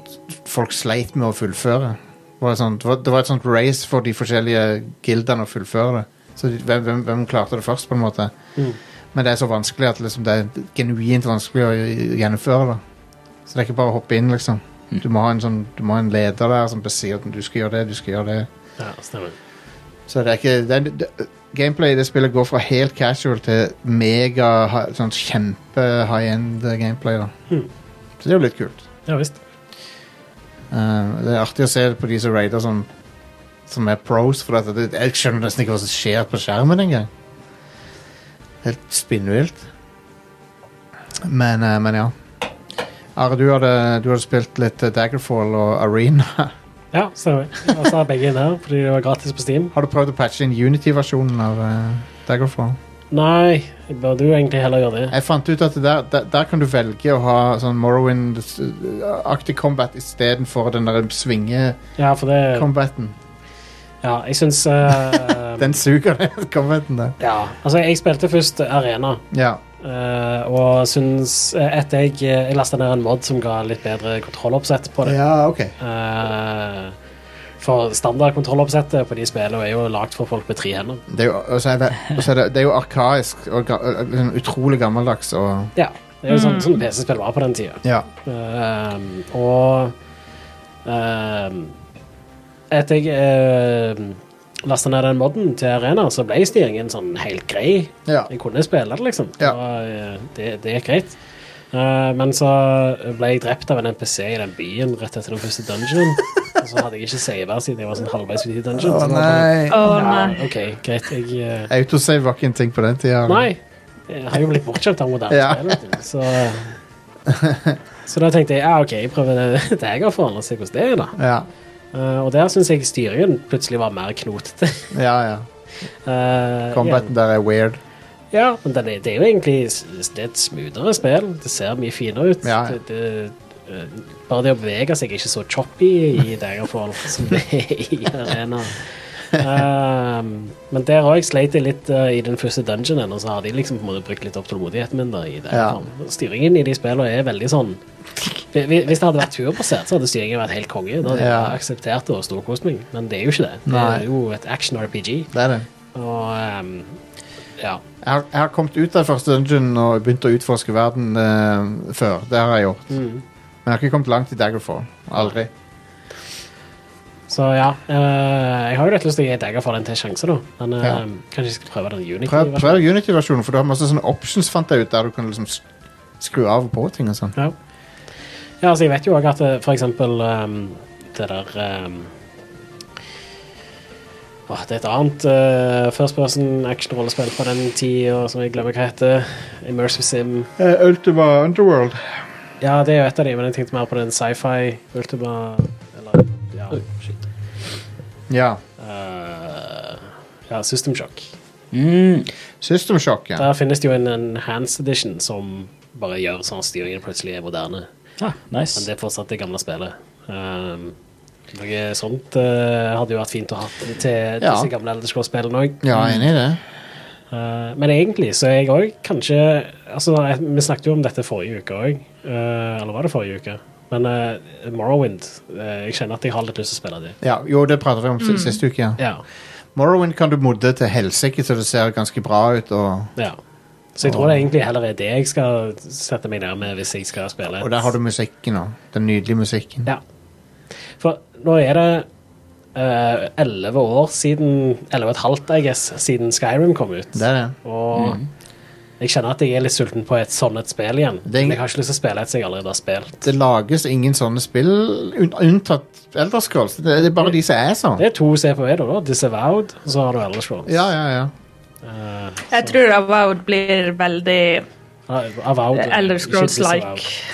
folk sleit med å fullføre. Det var, sånn, det, var, det var et sånt race for de forskjellige gildene å fullføre det. Så de, hvem, hvem, hvem klarte det først, på en måte. Men det er så vanskelig at liksom, det er genuint vanskelig å gjennomføre det. Så det er ikke bare å hoppe inn, liksom. Du må ha en, sånn, du må ha en leder der som sier at du skal gjøre det, du skal gjøre det.
ja, stemmer.
Så det er ikke det, er- det, Gameplay i det spillet går fra helt casual til mega ha- sånn kjempe high-end gameplay. da Så det er jo litt kult.
Ja visst.
Eh, det er artig å se det på de som raider som, som er pros, for at det, jeg skjønner nesten ikke hva som skjer på skjermen engang. Helt spinnvilt. Men, eh, men ja. Are, du hadde, du hadde spilt litt eh, Daggerfall og Arena.
Ja, stemmer. Og så har begge der, fordi det var gratis på Steam.
Har du prøvd å patche inn Unity-versjonen av eh, Daggerfall?
Nei, jeg burde jo egentlig heller gjøre det.
Jeg fant ut at der, der, der kan du velge å ha sånn Morrowind-aktig combat istedenfor den der
Ja, for det
svinge-combaten.
Ja, jeg syns eh,
Den suger, den combaten der.
Ja. Altså, jeg spilte først Arena,
Ja.
eh, og syns eh, Etter jeg, jeg lasta ned en mod som ga litt bedre kontrolloppsett på det.
ja, ok.
Eh, for standardkontrolloppsettet på de spillene er jo lagd for folk med tre hender.
Det er jo, og så er det, og så er det, det er jo arkaisk og ga, og- og liksom utrolig gammeldags og
Ja. Det er jo sånn, sånn PC-spill var på den tida.
Ja.
Ehm, og ehm, etter jeg uh, lasta ned den modden til Arena, så ble styringen sånn helt grei.
Ja.
Jeg kunne spille det, liksom.
Ja.
Og, eh, det, det gikk greit. Eh, men så ble jeg drept av en NPC i den byen rett etter den første dungeonen. Og så hadde jeg ikke saver siden jeg var sånn halvveis ute i dungeon.
Å
så det var sånn,
nei.
Å
ja,
nei.
OK, greit. Jeg eh,
Autosave var ikke en ting på den tida.
Nei. Jeg har jo blitt bortkjøpt av moderne
Ja.
spill, vet du. Så, så da tenkte jeg ja, OK, jeg prøver det, det jeg har for og se hvordan det er, da.
Ja,
Eh, og der syns jeg styringen plutselig var mer knotete.
ja. ja.
Eh,
Combaten der er weird.
igjen. Ja, men den er, det er jo egentlig s- det er et smoothere spill. Det ser mye finere ut.
Ja, ja.
Det, det, eh, bare det å bevege seg er ikke så choppy i Daggerfall som det er i Arena. Ehm, men der òg sleit jeg litt eh, i den første dungeonen, og så har de liksom på en måte brukt litt opp tålmodigheten min. da i det.
Ja.
Styringen i de spillene er veldig sånn Hvi- hvi- Hvis det hadde vært turbasert, så hadde styringen vært helt konge. Da hadde
Ja.
jeg akseptert det og storkost meg, men det er jo ikke det. Det
Nei.
er jo et action-RPG.
Det er det.
Og ehm, ja.
Jeg har, jeg har kommet ut av første dungeon og begynt å utforske verden eh, før. Det har jeg gjort.
Mm.
Men jeg har ikke kommet langt i Daggerfall. Aldri.
Så ja, eh, jeg har jo litt lyst til å gi Daggerfall en til sjanse, da. Men eh,
Ja.
kanskje jeg skal prøve den Unity.
Prøv,
versjonen.
prøv Unity-versjonen, for du har masse sånne options fant jeg ut, der du kan liksom s- skru av og på ting og sånn.
Ja. ja, altså jeg vet jo òg at eh, for eksempel ehm, det der ehm, åh, Det er et annet eh, first person action-rollespill fra den tida som jeg glemmer hva heter. Immersive Sim.
Eh, Ultima Underworld.
Ja, det er jo et av de, men jeg tenkte mer på den sci-fi Ultima Eller ja, shit.
Ja.
Eh, ja, System Shock.
Mm.
System Shock, ja.
Der finnes det jo en enhanced edition som bare gjør sånn at styringen plutselig er moderne.
Ah,
Men
nice.
det er fortsatt det gamle spillet. Ehm, noe sånt eh, hadde jo vært fint å ha til, til
Ja.
disse gamle Elder Scrolls-spillene òg.
Ja, jeg er enig i det.
Eh, men egentlig så er jeg òg kanskje altså, jeg- Vi snakket jo om dette forrige uke òg. eller var det forrige uke? Men eh, Morrowind eh, Jeg kjenner at jeg har litt lyst til å spille det.
Ja, jo, det pratet vi om si- siste uke, ja.
Ja,
Morrowind kan du modde til helsike, så det ser ganske bra ut. Og,
ja. Så jeg tror det egentlig heller er det jeg skal sette meg ned med hvis jeg skal spille.
og der har du musikken òg. Den nydelige musikken.
Ja. For nå er det eh, elleve år siden Elleve og et halvt, I guess, siden Skyrim kom ut.
Det er det.
Og
Mhm.
jeg kjenner at jeg er litt sulten på et sånn et spill igjen.
er ing-
Men jeg har ikke lyst til å spille et som jeg allerede har spilt.
Det lages ingen sånne spill, un- unntatt Elderscrolls. Det, det er bare de som er sånn.
Det er to CPV, da. da. Disavowed, og så har du Elder Scrolls.
Ja, ja, ja.
Eh,
Jeg tror Avowed blir veldig
Ah, Avowed.
Eh, Elder
ikke
Scrolls-like.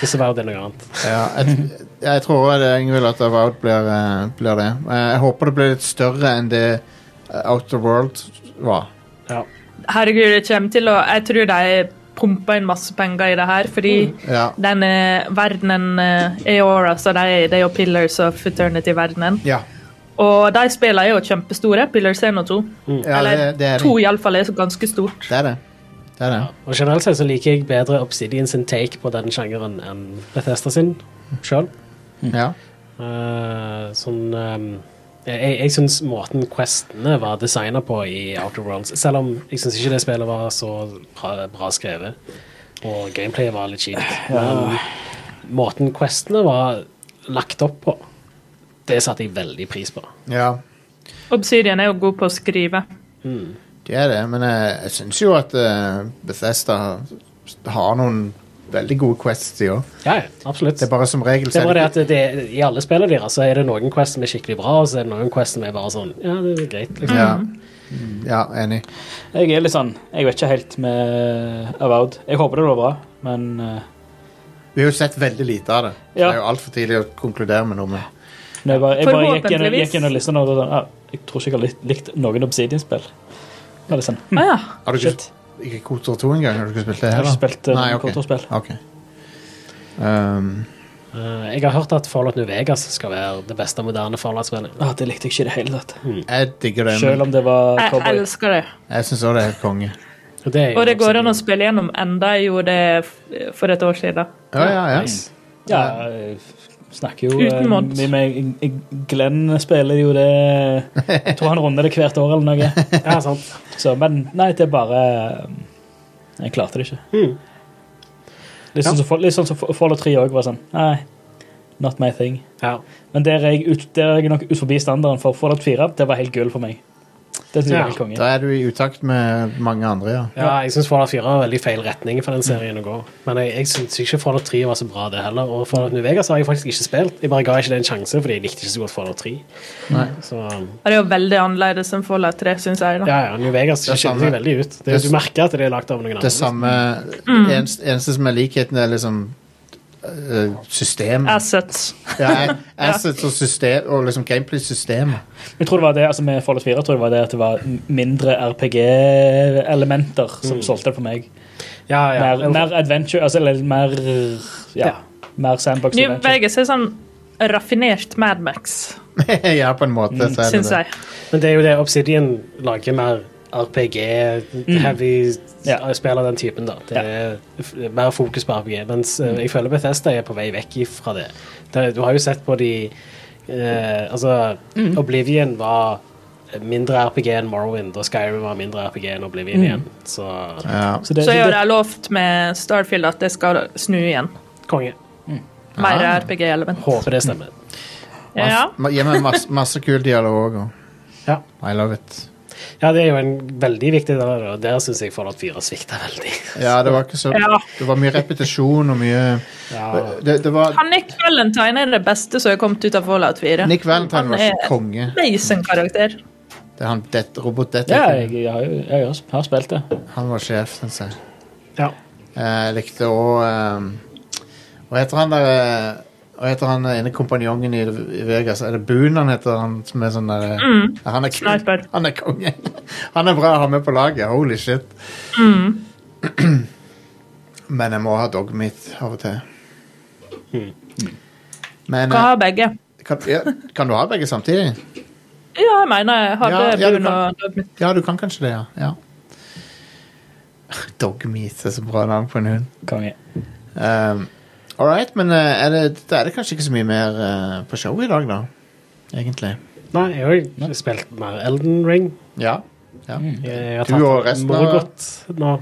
Disavowed. Disavowed er noe annet.
ja jeg, jeg tror det, Ingvild, at Avowed blir, eh, blir det. Eh, Jeg håper det blir litt større enn det eh, Outer World var.
Ja.
Herregud, det kommer til å Jeg tror de pumper inn masse penger i det her, fordi
Ja.
den eh, verdenen eh, Eora, så de, de er jo Pillars of Eternity-verdenen.
Ja,
Og de spillene er jo kjempestore. Pillars 1 og 2.
ja det,
Eller
det er
to
det.
iallfall er så ganske stort.
Det er det. det, er det.
Og generelt sett så liker jeg bedre Obsidian sin take på den sjangeren enn Bethesda sin sjøl.
Ja.
Eh, sånn ehm, Jeg, jeg syns måten questene var designa på i Outer Worlds Selv om jeg syns ikke det spillet var så bra, bra skrevet, og gameplayet var litt kjipt. Men måten questene var lagt opp på, det satte jeg veldig pris på.
ja.
Obsidian er jo god på å skrive.
Det er det, men jeg, jeg syns jo at eh, Bethesda har noen veldig gode quests i år.
Ja, ja, absolutt.
Det er bare som regel
Det er bare det at det, i alle spillene deres så er det noen quests som er skikkelig bra, og så er det noen quests som er bare sånn Ja, det er greit. Liksom.
ja. ja, enig.
Jeg er litt sånn Jeg vet ikke helt med Avowed. Jeg håper det blir bra, men eh,
Vi har jo sett veldig lite av det. Så
Ja.
Det er jo altfor tidlig å konkludere med noe. Men
når jeg bare, jeg bare gikk gjennom-
Forhåpentligvis.
gikk gjennom listen og sånn, ah, jeg tror ikke jeg har likt, likt noen Obsidian-spill. Da er det sånn,
Å
hm,
ja.
har du ikke,
shit.
ikke KOTOR 2 engang? Har du ikke spilt det
Jeg har
heller?
ikke spilt uh,
Nei, ok.
kontorspill.
Ok. Um,
Eh, jeg har hørt at Fallout New Vegas skal være det beste moderne Fallout-spillet.
Ah, det likte jeg ikke i det hele tatt.
Jeg digger det.
Selv
men
om det var
Jeg
cowboy.
elsker det.
Jeg syns også det er helt konge.
Og det, er jo
Og det går
absolutt-
an å spille gjennom enda. Jeg gjorde det f- for et år siden.
Ja, ja, ja.
Nice.
Ja, jeg Eh, snakker jo
Uten
eh,
mods.
mye med Glenn spiller jo det eh, Jeg tror han runder det hvert år eller noe.
Ja, sant.
Så, men nei, det er bare eh, Jeg klarte det ikke.
Hmm.
Litt sånn som Fall- litt sånn som Fallout 3 òg var sånn. Nei, not my thing.
Ja.
Men der er jeg, ut, der er jeg nok ut forbi standarden for Fallout 4. Det var helt gull for meg. Det synes jeg
Ja.
var helt konge.
Da er du i utakt med mange andre, ja.
ja, jeg syns Fallout 4 er veldig feil retning for den serien å gå. Men jeg, jeg syns ikke Fallout 3 var så bra, det heller. Og Fallout New Vegas har jeg faktisk ikke spilt. Jeg bare ga ikke det en sjanse, fordi jeg likte ikke så godt Fallout 3.
Nei.
Så um,
Og det er jo veldig annerledes enn Fallout 3, syns jeg. da.
ja, ja, New Vegas
Det er
skiller
samme.
seg veldig ut. Det,
Det er-
du merker at det er lagd av noen andre.
Det samme
Mm.
eneste, eneste som er likheten, er liksom øh, systemet.
Assets.
Ja, assets og, system, og liksom gameplay-systemet.
Jeg tror det var det, altså med Fallout 4 tror jeg det var det at det var mindre RPG-elementer som solgte det for meg.
Ja, ja.
Mer, mer adventure, altså eller mer Ja.
Ja.
Mer sandbox
New
adventure.
Vegas er sånn raffinert Mad Max,
ja, på en måte. Så er det
syns
det.
jeg.
Men det er jo det Obsidian lager mer RPG, Mm. heavy
Ja.
spill av den typen, da. Det
Ja.
er f- mer fokus på RPG. Mens eh, jeg føler Bethesda er på vei vekk fra det. det du har jo sett på de eh, Altså, Oblivion var mindre RPG enn Morrowind, og Skyrim var mindre RPG enn Oblivion igjen. Så
Ja.
Så det,
Så
det,
har jeg lovt med Starfield at det skal snu igjen.
konge.
Mer
Ah.
RPG-element.
Håper det stemmer.
Ja.
Mas, ja, men masse, masse kul dialog og
Ja.
I love it.
Ja, det er jo en veldig viktig del av det, og der syns jeg Fallout 4 svikta veldig.
Ja, det var ikke så
Ja.
Det var mye repetisjon og mye Det, det var
Han Nick Valentine er det beste som er kommet ut av Fallout 4.
Nick Valentine
Han
var
er-
så konge.
Amazing karakter.
Det er han det,
ja,
robotdetektiven.
jeg, jeg, har jo- jeg har- har spilt det.
Han var sjef, syns jeg. Eh,
Ja.
Jeg likte òg Hva heter han der eh, Hva heter han eh, ene kompanjongen i i Vegas? Er det Boone han heter? Han som er sånn der eh, ja, han, er kul.
Sniper.
han er konge. Han er bra å ha med på laget. Holy shit. Men jeg må ha dogmeat av og til. Men
Kan
eh,
ha begge.
kan, ja, kan du ha begge samtidig?
Ja, jeg mener jeg hadde
Ja, ja, du
Boone og Dogmeat.
Ja, du kan kanskje det, ja. ja. Dogmeat er så bra navn på en hund.
Konge.
Um, All right, men eh, er det, da er det kanskje ikke så mye mer eh, på showet i dag, da. Egentlig.
Nei, jeg har jo spilt mer Elden Ring.
Ja. ja.
Mm.
Jeg har
Du og
tatt
resten av-
Morgoth nå.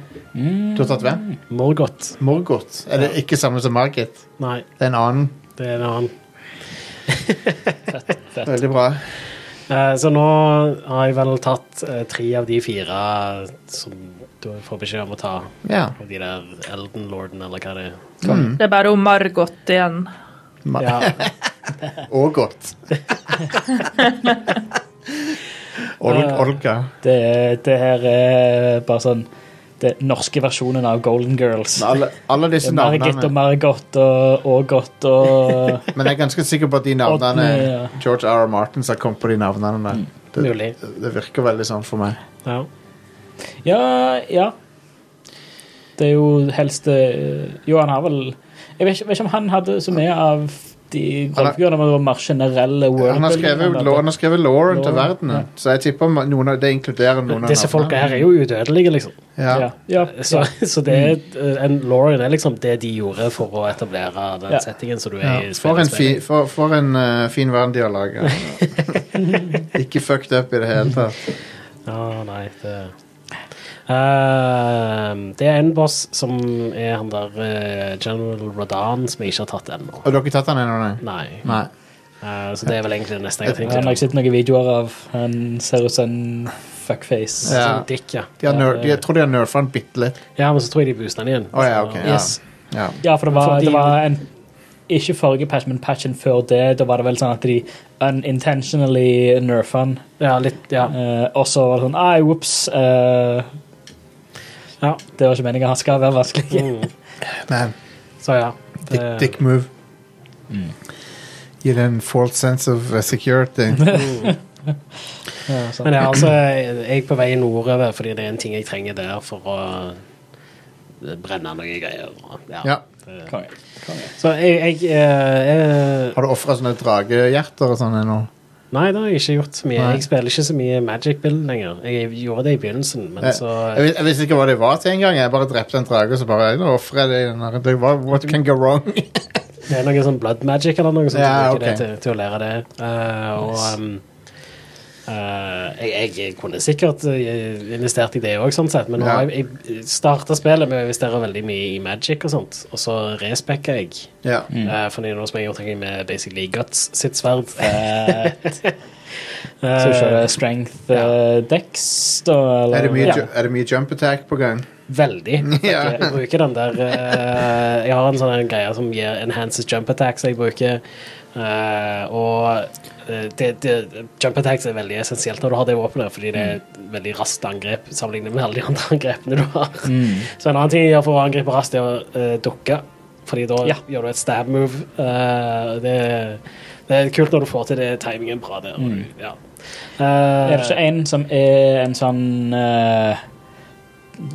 Du har tatt hvem?
Mm.
Morgoth.
Morgoth. Er det ikke samme som Margit?
Nei,
Det er en annen.
det er en annen.
Veldig bra.
Eh, Så nå har jeg vel tatt eh, tre av de fire eh, som du får beskjed om å ta.
Ja.
Av de der Elden Lorden, eller hva det er.
Mm.
Det er bare om Margot igjen.
Ma
Ja,
Og godt. Ol Olga.
Det, det her er bare sånn det norske versjonen av Golden Girls.
Alle, alle disse
Margit og
navnene.
Margot og Ågot og
Men jeg er ganske sikker på at de
Oddny,
navnene
ja. Mm.
George R. R. Martins har kommet på de navnene der. Det,
mulig.
det virker veldig sånn for meg.
Ja.
Ja, ja. Det er jo helst eh, Jo, han har vel Jeg vet ikke, vet ikke om han hadde så mye av de
har-
rollefigurene, men det var mer generelle
Han har skrevet,
worldbuilding.
han har skrevet Lauren til
Lauren,
verden, så jeg tipper ma- noen av, det inkluderer noen av
Disse folka her er jo udødelige, liksom.
Ja. Mm.
Ja. Ja.
Så, så det er, eh, en Lauren er liksom det de gjorde for å etablere den
Ja.
settingen som du
Ja.
er i.
For en, fi,
spillet.
for, for en eh, fin verden de har laga. Ikke fucked up i det hele tatt.
Ja, nei, det Ehm, Det er en boss som er han der eh, General Radan, som jeg ikke har tatt ennå.
Har dere tatt den ennå, nei?
Nei.
Nei.
Eh, så det er vel egentlig det neste jeg
Han har
tenker.
jeg sett noen videoer av. Han ser ut som en fuckface.
Ja.
Sånn dick, ja.
De har ner, de, jeg tror de har nerfa den bitte litt.
ja, men så tror jeg de booster den igjen.
Å ja, ok. Ja.
Yes.
Ja.
Ja, for det var,
Fordi-
det var en Ikke forrige patch, men patchen før det. Da var det vel sånn at de unintentionally nerfa han.
Ja, litt, ja.
Eh, og så var det sånn Ai, whoops. eh,
Ja.
Det var ikke meningen. Han skal være vanskelig.
Mm.
Man,
Så ja.
dick, dick move. Gi det en false sense of eh, security.
Ja, sånn, sant.
Men det er altså jeg er på vei nordover fordi det er en ting jeg trenger der for å brenne noen greier. og-
Ja.
Det-
Konge. Konge.
Så jeg, jeg, eh, eh,
Har du ofra sånne dragehjerter og sånn ennå?
Nei, det har jeg ikke gjort så mye.
Nei.
Jeg spiller ikke så mye Magic Bill lenger. Jeg gjorde det i begynnelsen, men
Jeg, jeg,
så
vis- jeg visste ikke hva det var til en gang. Jeg bare drepte en drage og så bare nå offrer jeg det. i den her. Det var- What can go wrong?
Det er noe sånn blood magic eller noe sånt
Ja,
som
ok.
bruker det til, til å lære det. Eh, og um, eh, jeg, jeg kunne sikkert eh, investert i det òg, sånn sett, men nå
Ja.
har jeg, jeg starta spillet med å investere veldig mye i magic og sånt, og så respekka jeg.
ja.
Mm.
Eh, fordi nå som jeg har gjort noe med basically Guts sitt sverd. eh,
Så du kjører strength eh, decks, da? Eller?
Er, det mye,
Ja.
ju- er det mye jump attack på gang?
Veldig.
Ja.
Jeg bruker den der eh, Jeg har en sånn en greie som gir enhances jump attacks jeg bruker. eh, og eh, det, det, jump attacks er veldig essensielt når du har det våpenet, fordi det er et veldig raskt angrep sammenlignet med alle de andre angrepene du har. Så en annen ting jeg gjør for å angripe raskt, er å eh, dukke. Fordi da
Ja.
gjør du et stab move. eh, det, det er kult når du får til det. Timingen bra der. og du- Ja. Eh,
Er det ikke en som er en sånn eh,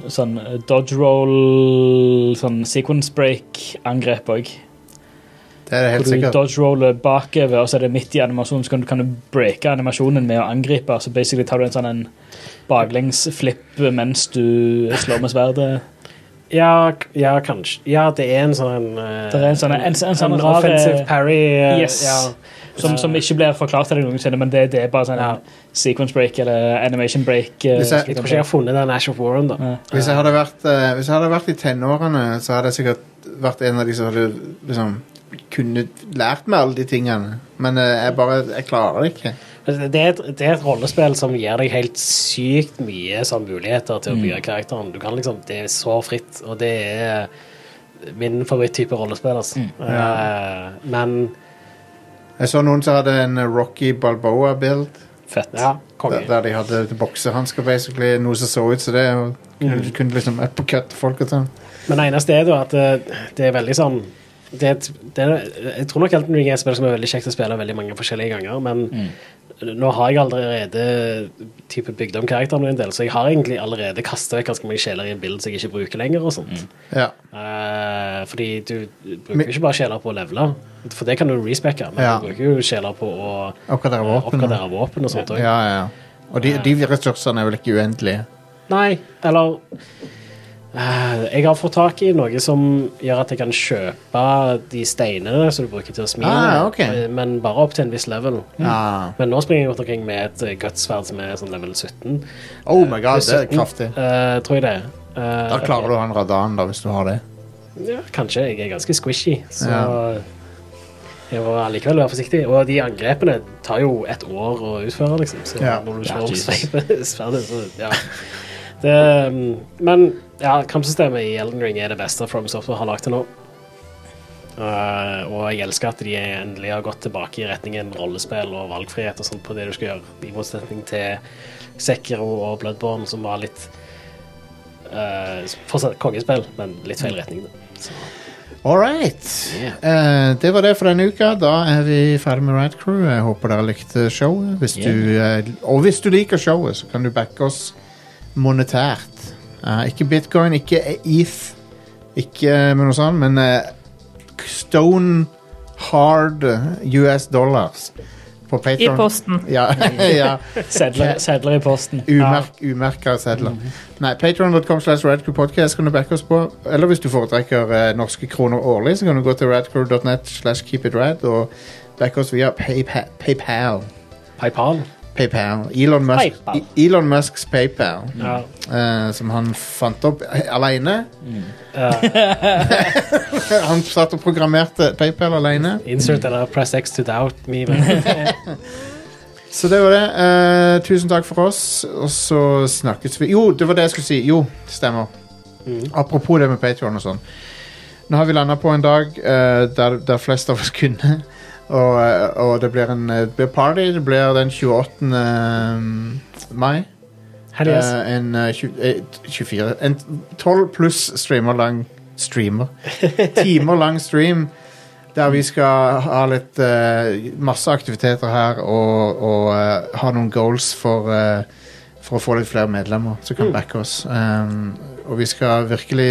Sånn dodge roll Sånn sequence break-angrep òg?
Det er det helt
Hvor du
sikkert.
dodge roller bakover, og så er det midt i animasjonen, så kan du, kan du breake animasjonen med å angripe. Så basically tar du en sånn en baklengsflipp mens du slår med sverdet.
Ja, k- ja, kanskje. Ja, det er en sånn eh,
Det er en sånn- en- en sånn rar,
offensive
eh,
parry. eh,
Yes.
Ja.
Som, som ikke blir forklart til deg noensinne, men det, det er bare sånn
Ja.
en sequence break eller animation break. eh,
Hvis jeg-
som
Jeg
du
tror
kan
ikke jeg har funnet den Ash of Warren, da.
Nei.
Hvis jeg hadde vært, eh, hvis jeg hadde vært i tenårene, så hadde jeg sikkert vært en av de som hadde liksom, kunne lært meg alle de tingene. Men eh, jeg bare jeg klarer det ikke.
Altså, Det er, et, det er et rollespill som gir deg helt sykt mye sånn, muligheter til å
Mm.
bygge karakteren. Du kan liksom, Det er så fritt, og det er min favoritttype rollespill. Altså.
Mm.
Eh, men
Jeg så noen som hadde en eh, Rocky Balboa-bild,
Fett.
ja, konge.
der, der de hadde boksehansker, basically. Noe som så ut som det. Og kunne, kunne liksom uppercut folk og sånn.
Men det eneste er jo at det, det er veldig sånn det er, et- det er, Jeg tror nok Elton Ring er et spill som er veldig kjekt å spille veldig mange forskjellige ganger, men nå har jeg allerede type bygd om karakteren min en del, så jeg har egentlig allerede kasta vekk ganske mange sjeler i en bild som jeg ikke bruker lenger. og sånt.
Ja.
Eh, fordi du bruker
Men-
jo ikke bare sjeler på å levele, for det kan du respecke, men
Ja.
du bruker jo sjeler på å
Oppgradere
eh,
våpen.
oppgradere våpen og sånt
Ja,
òg.
ja, ja. Og de, de ressursene er vel ikke uendelige.
Nei, eller eh, Jeg har fått tak i noe som gjør at jeg kan kjøpe de steinene som du bruker til å smi,
Ah, ok.
eh, men bare opp til en viss level.
Ah.
Men nå springer jeg rundt omkring med et eh, gutsverd som er sånn level 17.
Oh my god, det er
17,
kraftig.
eh, tror jeg det. Eh,
Da klarer du å ha en radan, da, hvis du har det.
Ja, kanskje. Jeg er ganske squishy, så
Ja.
jeg må allikevel være forsiktig. Og de angrepene tar jo et år å utføre, liksom. Så
Ja.
når du
Ja,
slår om
Jesus.
sveipen- sverdet, så ja. Det, um, men ja, kampsystemet i Elden Ring er det beste From Software har lagd til nå. Uh, og jeg elsker at de endelig har gått tilbake i retningen rollespill og valgfrihet og sånt på det du skal gjøre, i motsetning til Sekiro og Bloodborne, som var litt uh, Fortsatt kongespill, men litt feil retning. Da.
All right. Eh, det var det for denne uka. Da er vi ferdig med Rad Crew. Jeg håper dere likte showet. Hvis du, eh, og hvis du liker showet, så kan du backe oss monetært. Eh, ikke bitcoin, ikke ETH, ikke eh, med noe sånt, men eh, stone hard US dollars på
I
Patreon.
posten.
Ja, ja.
Sedler, sedler i posten.
Umerk, umerka sedler. Nei, patreon.com slash radcrewpodcast kan du backe oss på. Eller hvis du foretrekker eh, norske kroner årlig, så kan du gå til radcrew.net slash keepitrad og backe oss via PayPal. PayPal.
PayPal.
PayPal. Elon, Musk,
PayPal.
I- Elon Musks PayPal,
Ja.
eh, som han fant opp eh, alene. han satt og programmerte PayPal alene.
Insert eller press X to doubt me.
Så det var det. Eh, tusen takk for oss, og så snakkes vi Jo, det var det jeg skulle si. Jo, det stemmer. Apropos det med Patreon og sånn. Nå har vi landa på en dag eh, der, der flest av oss kunne. Og, eh, og det blir en eh, det blir party. Det blir den 28. mai.
Hell yes.
Eh, en eh, tju- eh, 24 En 12 pluss streamer lang Streamer Timer lang stream Der vi skal ha litt eh, Masse aktiviteter her Og, og eh, ha noen goals for eh, For å få litt flere medlemmer Som kan backe oss um, Og vi Ehm, skal virkelig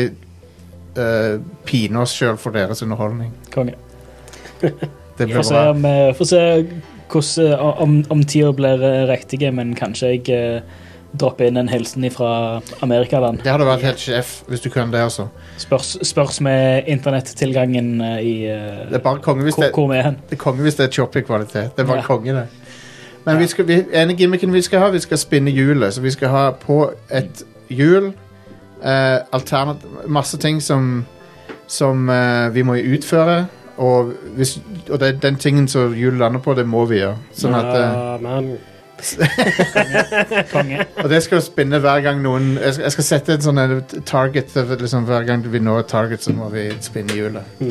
eh, pine oss sjøl for deres underholdning.
Konge.
Det blir
Få se,
bra.
om, eh, får se hvordan, eh, om, om tida blir eh, riktige, men kanskje jeg eh, dropper inn en hilsen fra Amerikaland.
Det hadde vært helt sjef hvis du kunne det, altså.
Spørs, spørs med internettilgangen eh, i eh,
Det er bare konge hvis
hvor,
det,
hvor vi er hen.
det, er konge hvis det er choppy kvalitet. Det er bare
Ja.
konge, det. Men vi skal, vi, en av gimmicken vi skal ha, vi skal spinne hjulet. Så vi skal ha på et hjul eh, alternat- masse ting som, som eh, vi må utføre. Og, hvis, og det, den tingen som hjulet lander på, det må vi gjøre. Sånn at, eh,
Ja, men
Konge.
Og det skal jo spinne hver gang noen Jeg skal, jeg skal sette en sånn eh, t- target eh, liksom Hver gang vi når et target så må vi spinne hjulet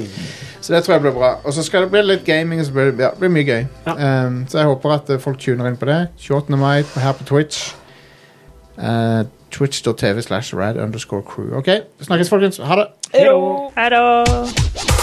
Så det tror jeg blir bra Og så skal det bli litt gaming og så blir det, ja, det blir mye gøy
Ja.
Ehm, Så jeg håper at eh, folk tuner inn på det 28. mai på- her på Twitch Eh, Twitch.tv slash rad underscore crew Ok, snakkes folkens, ha det
Hei da!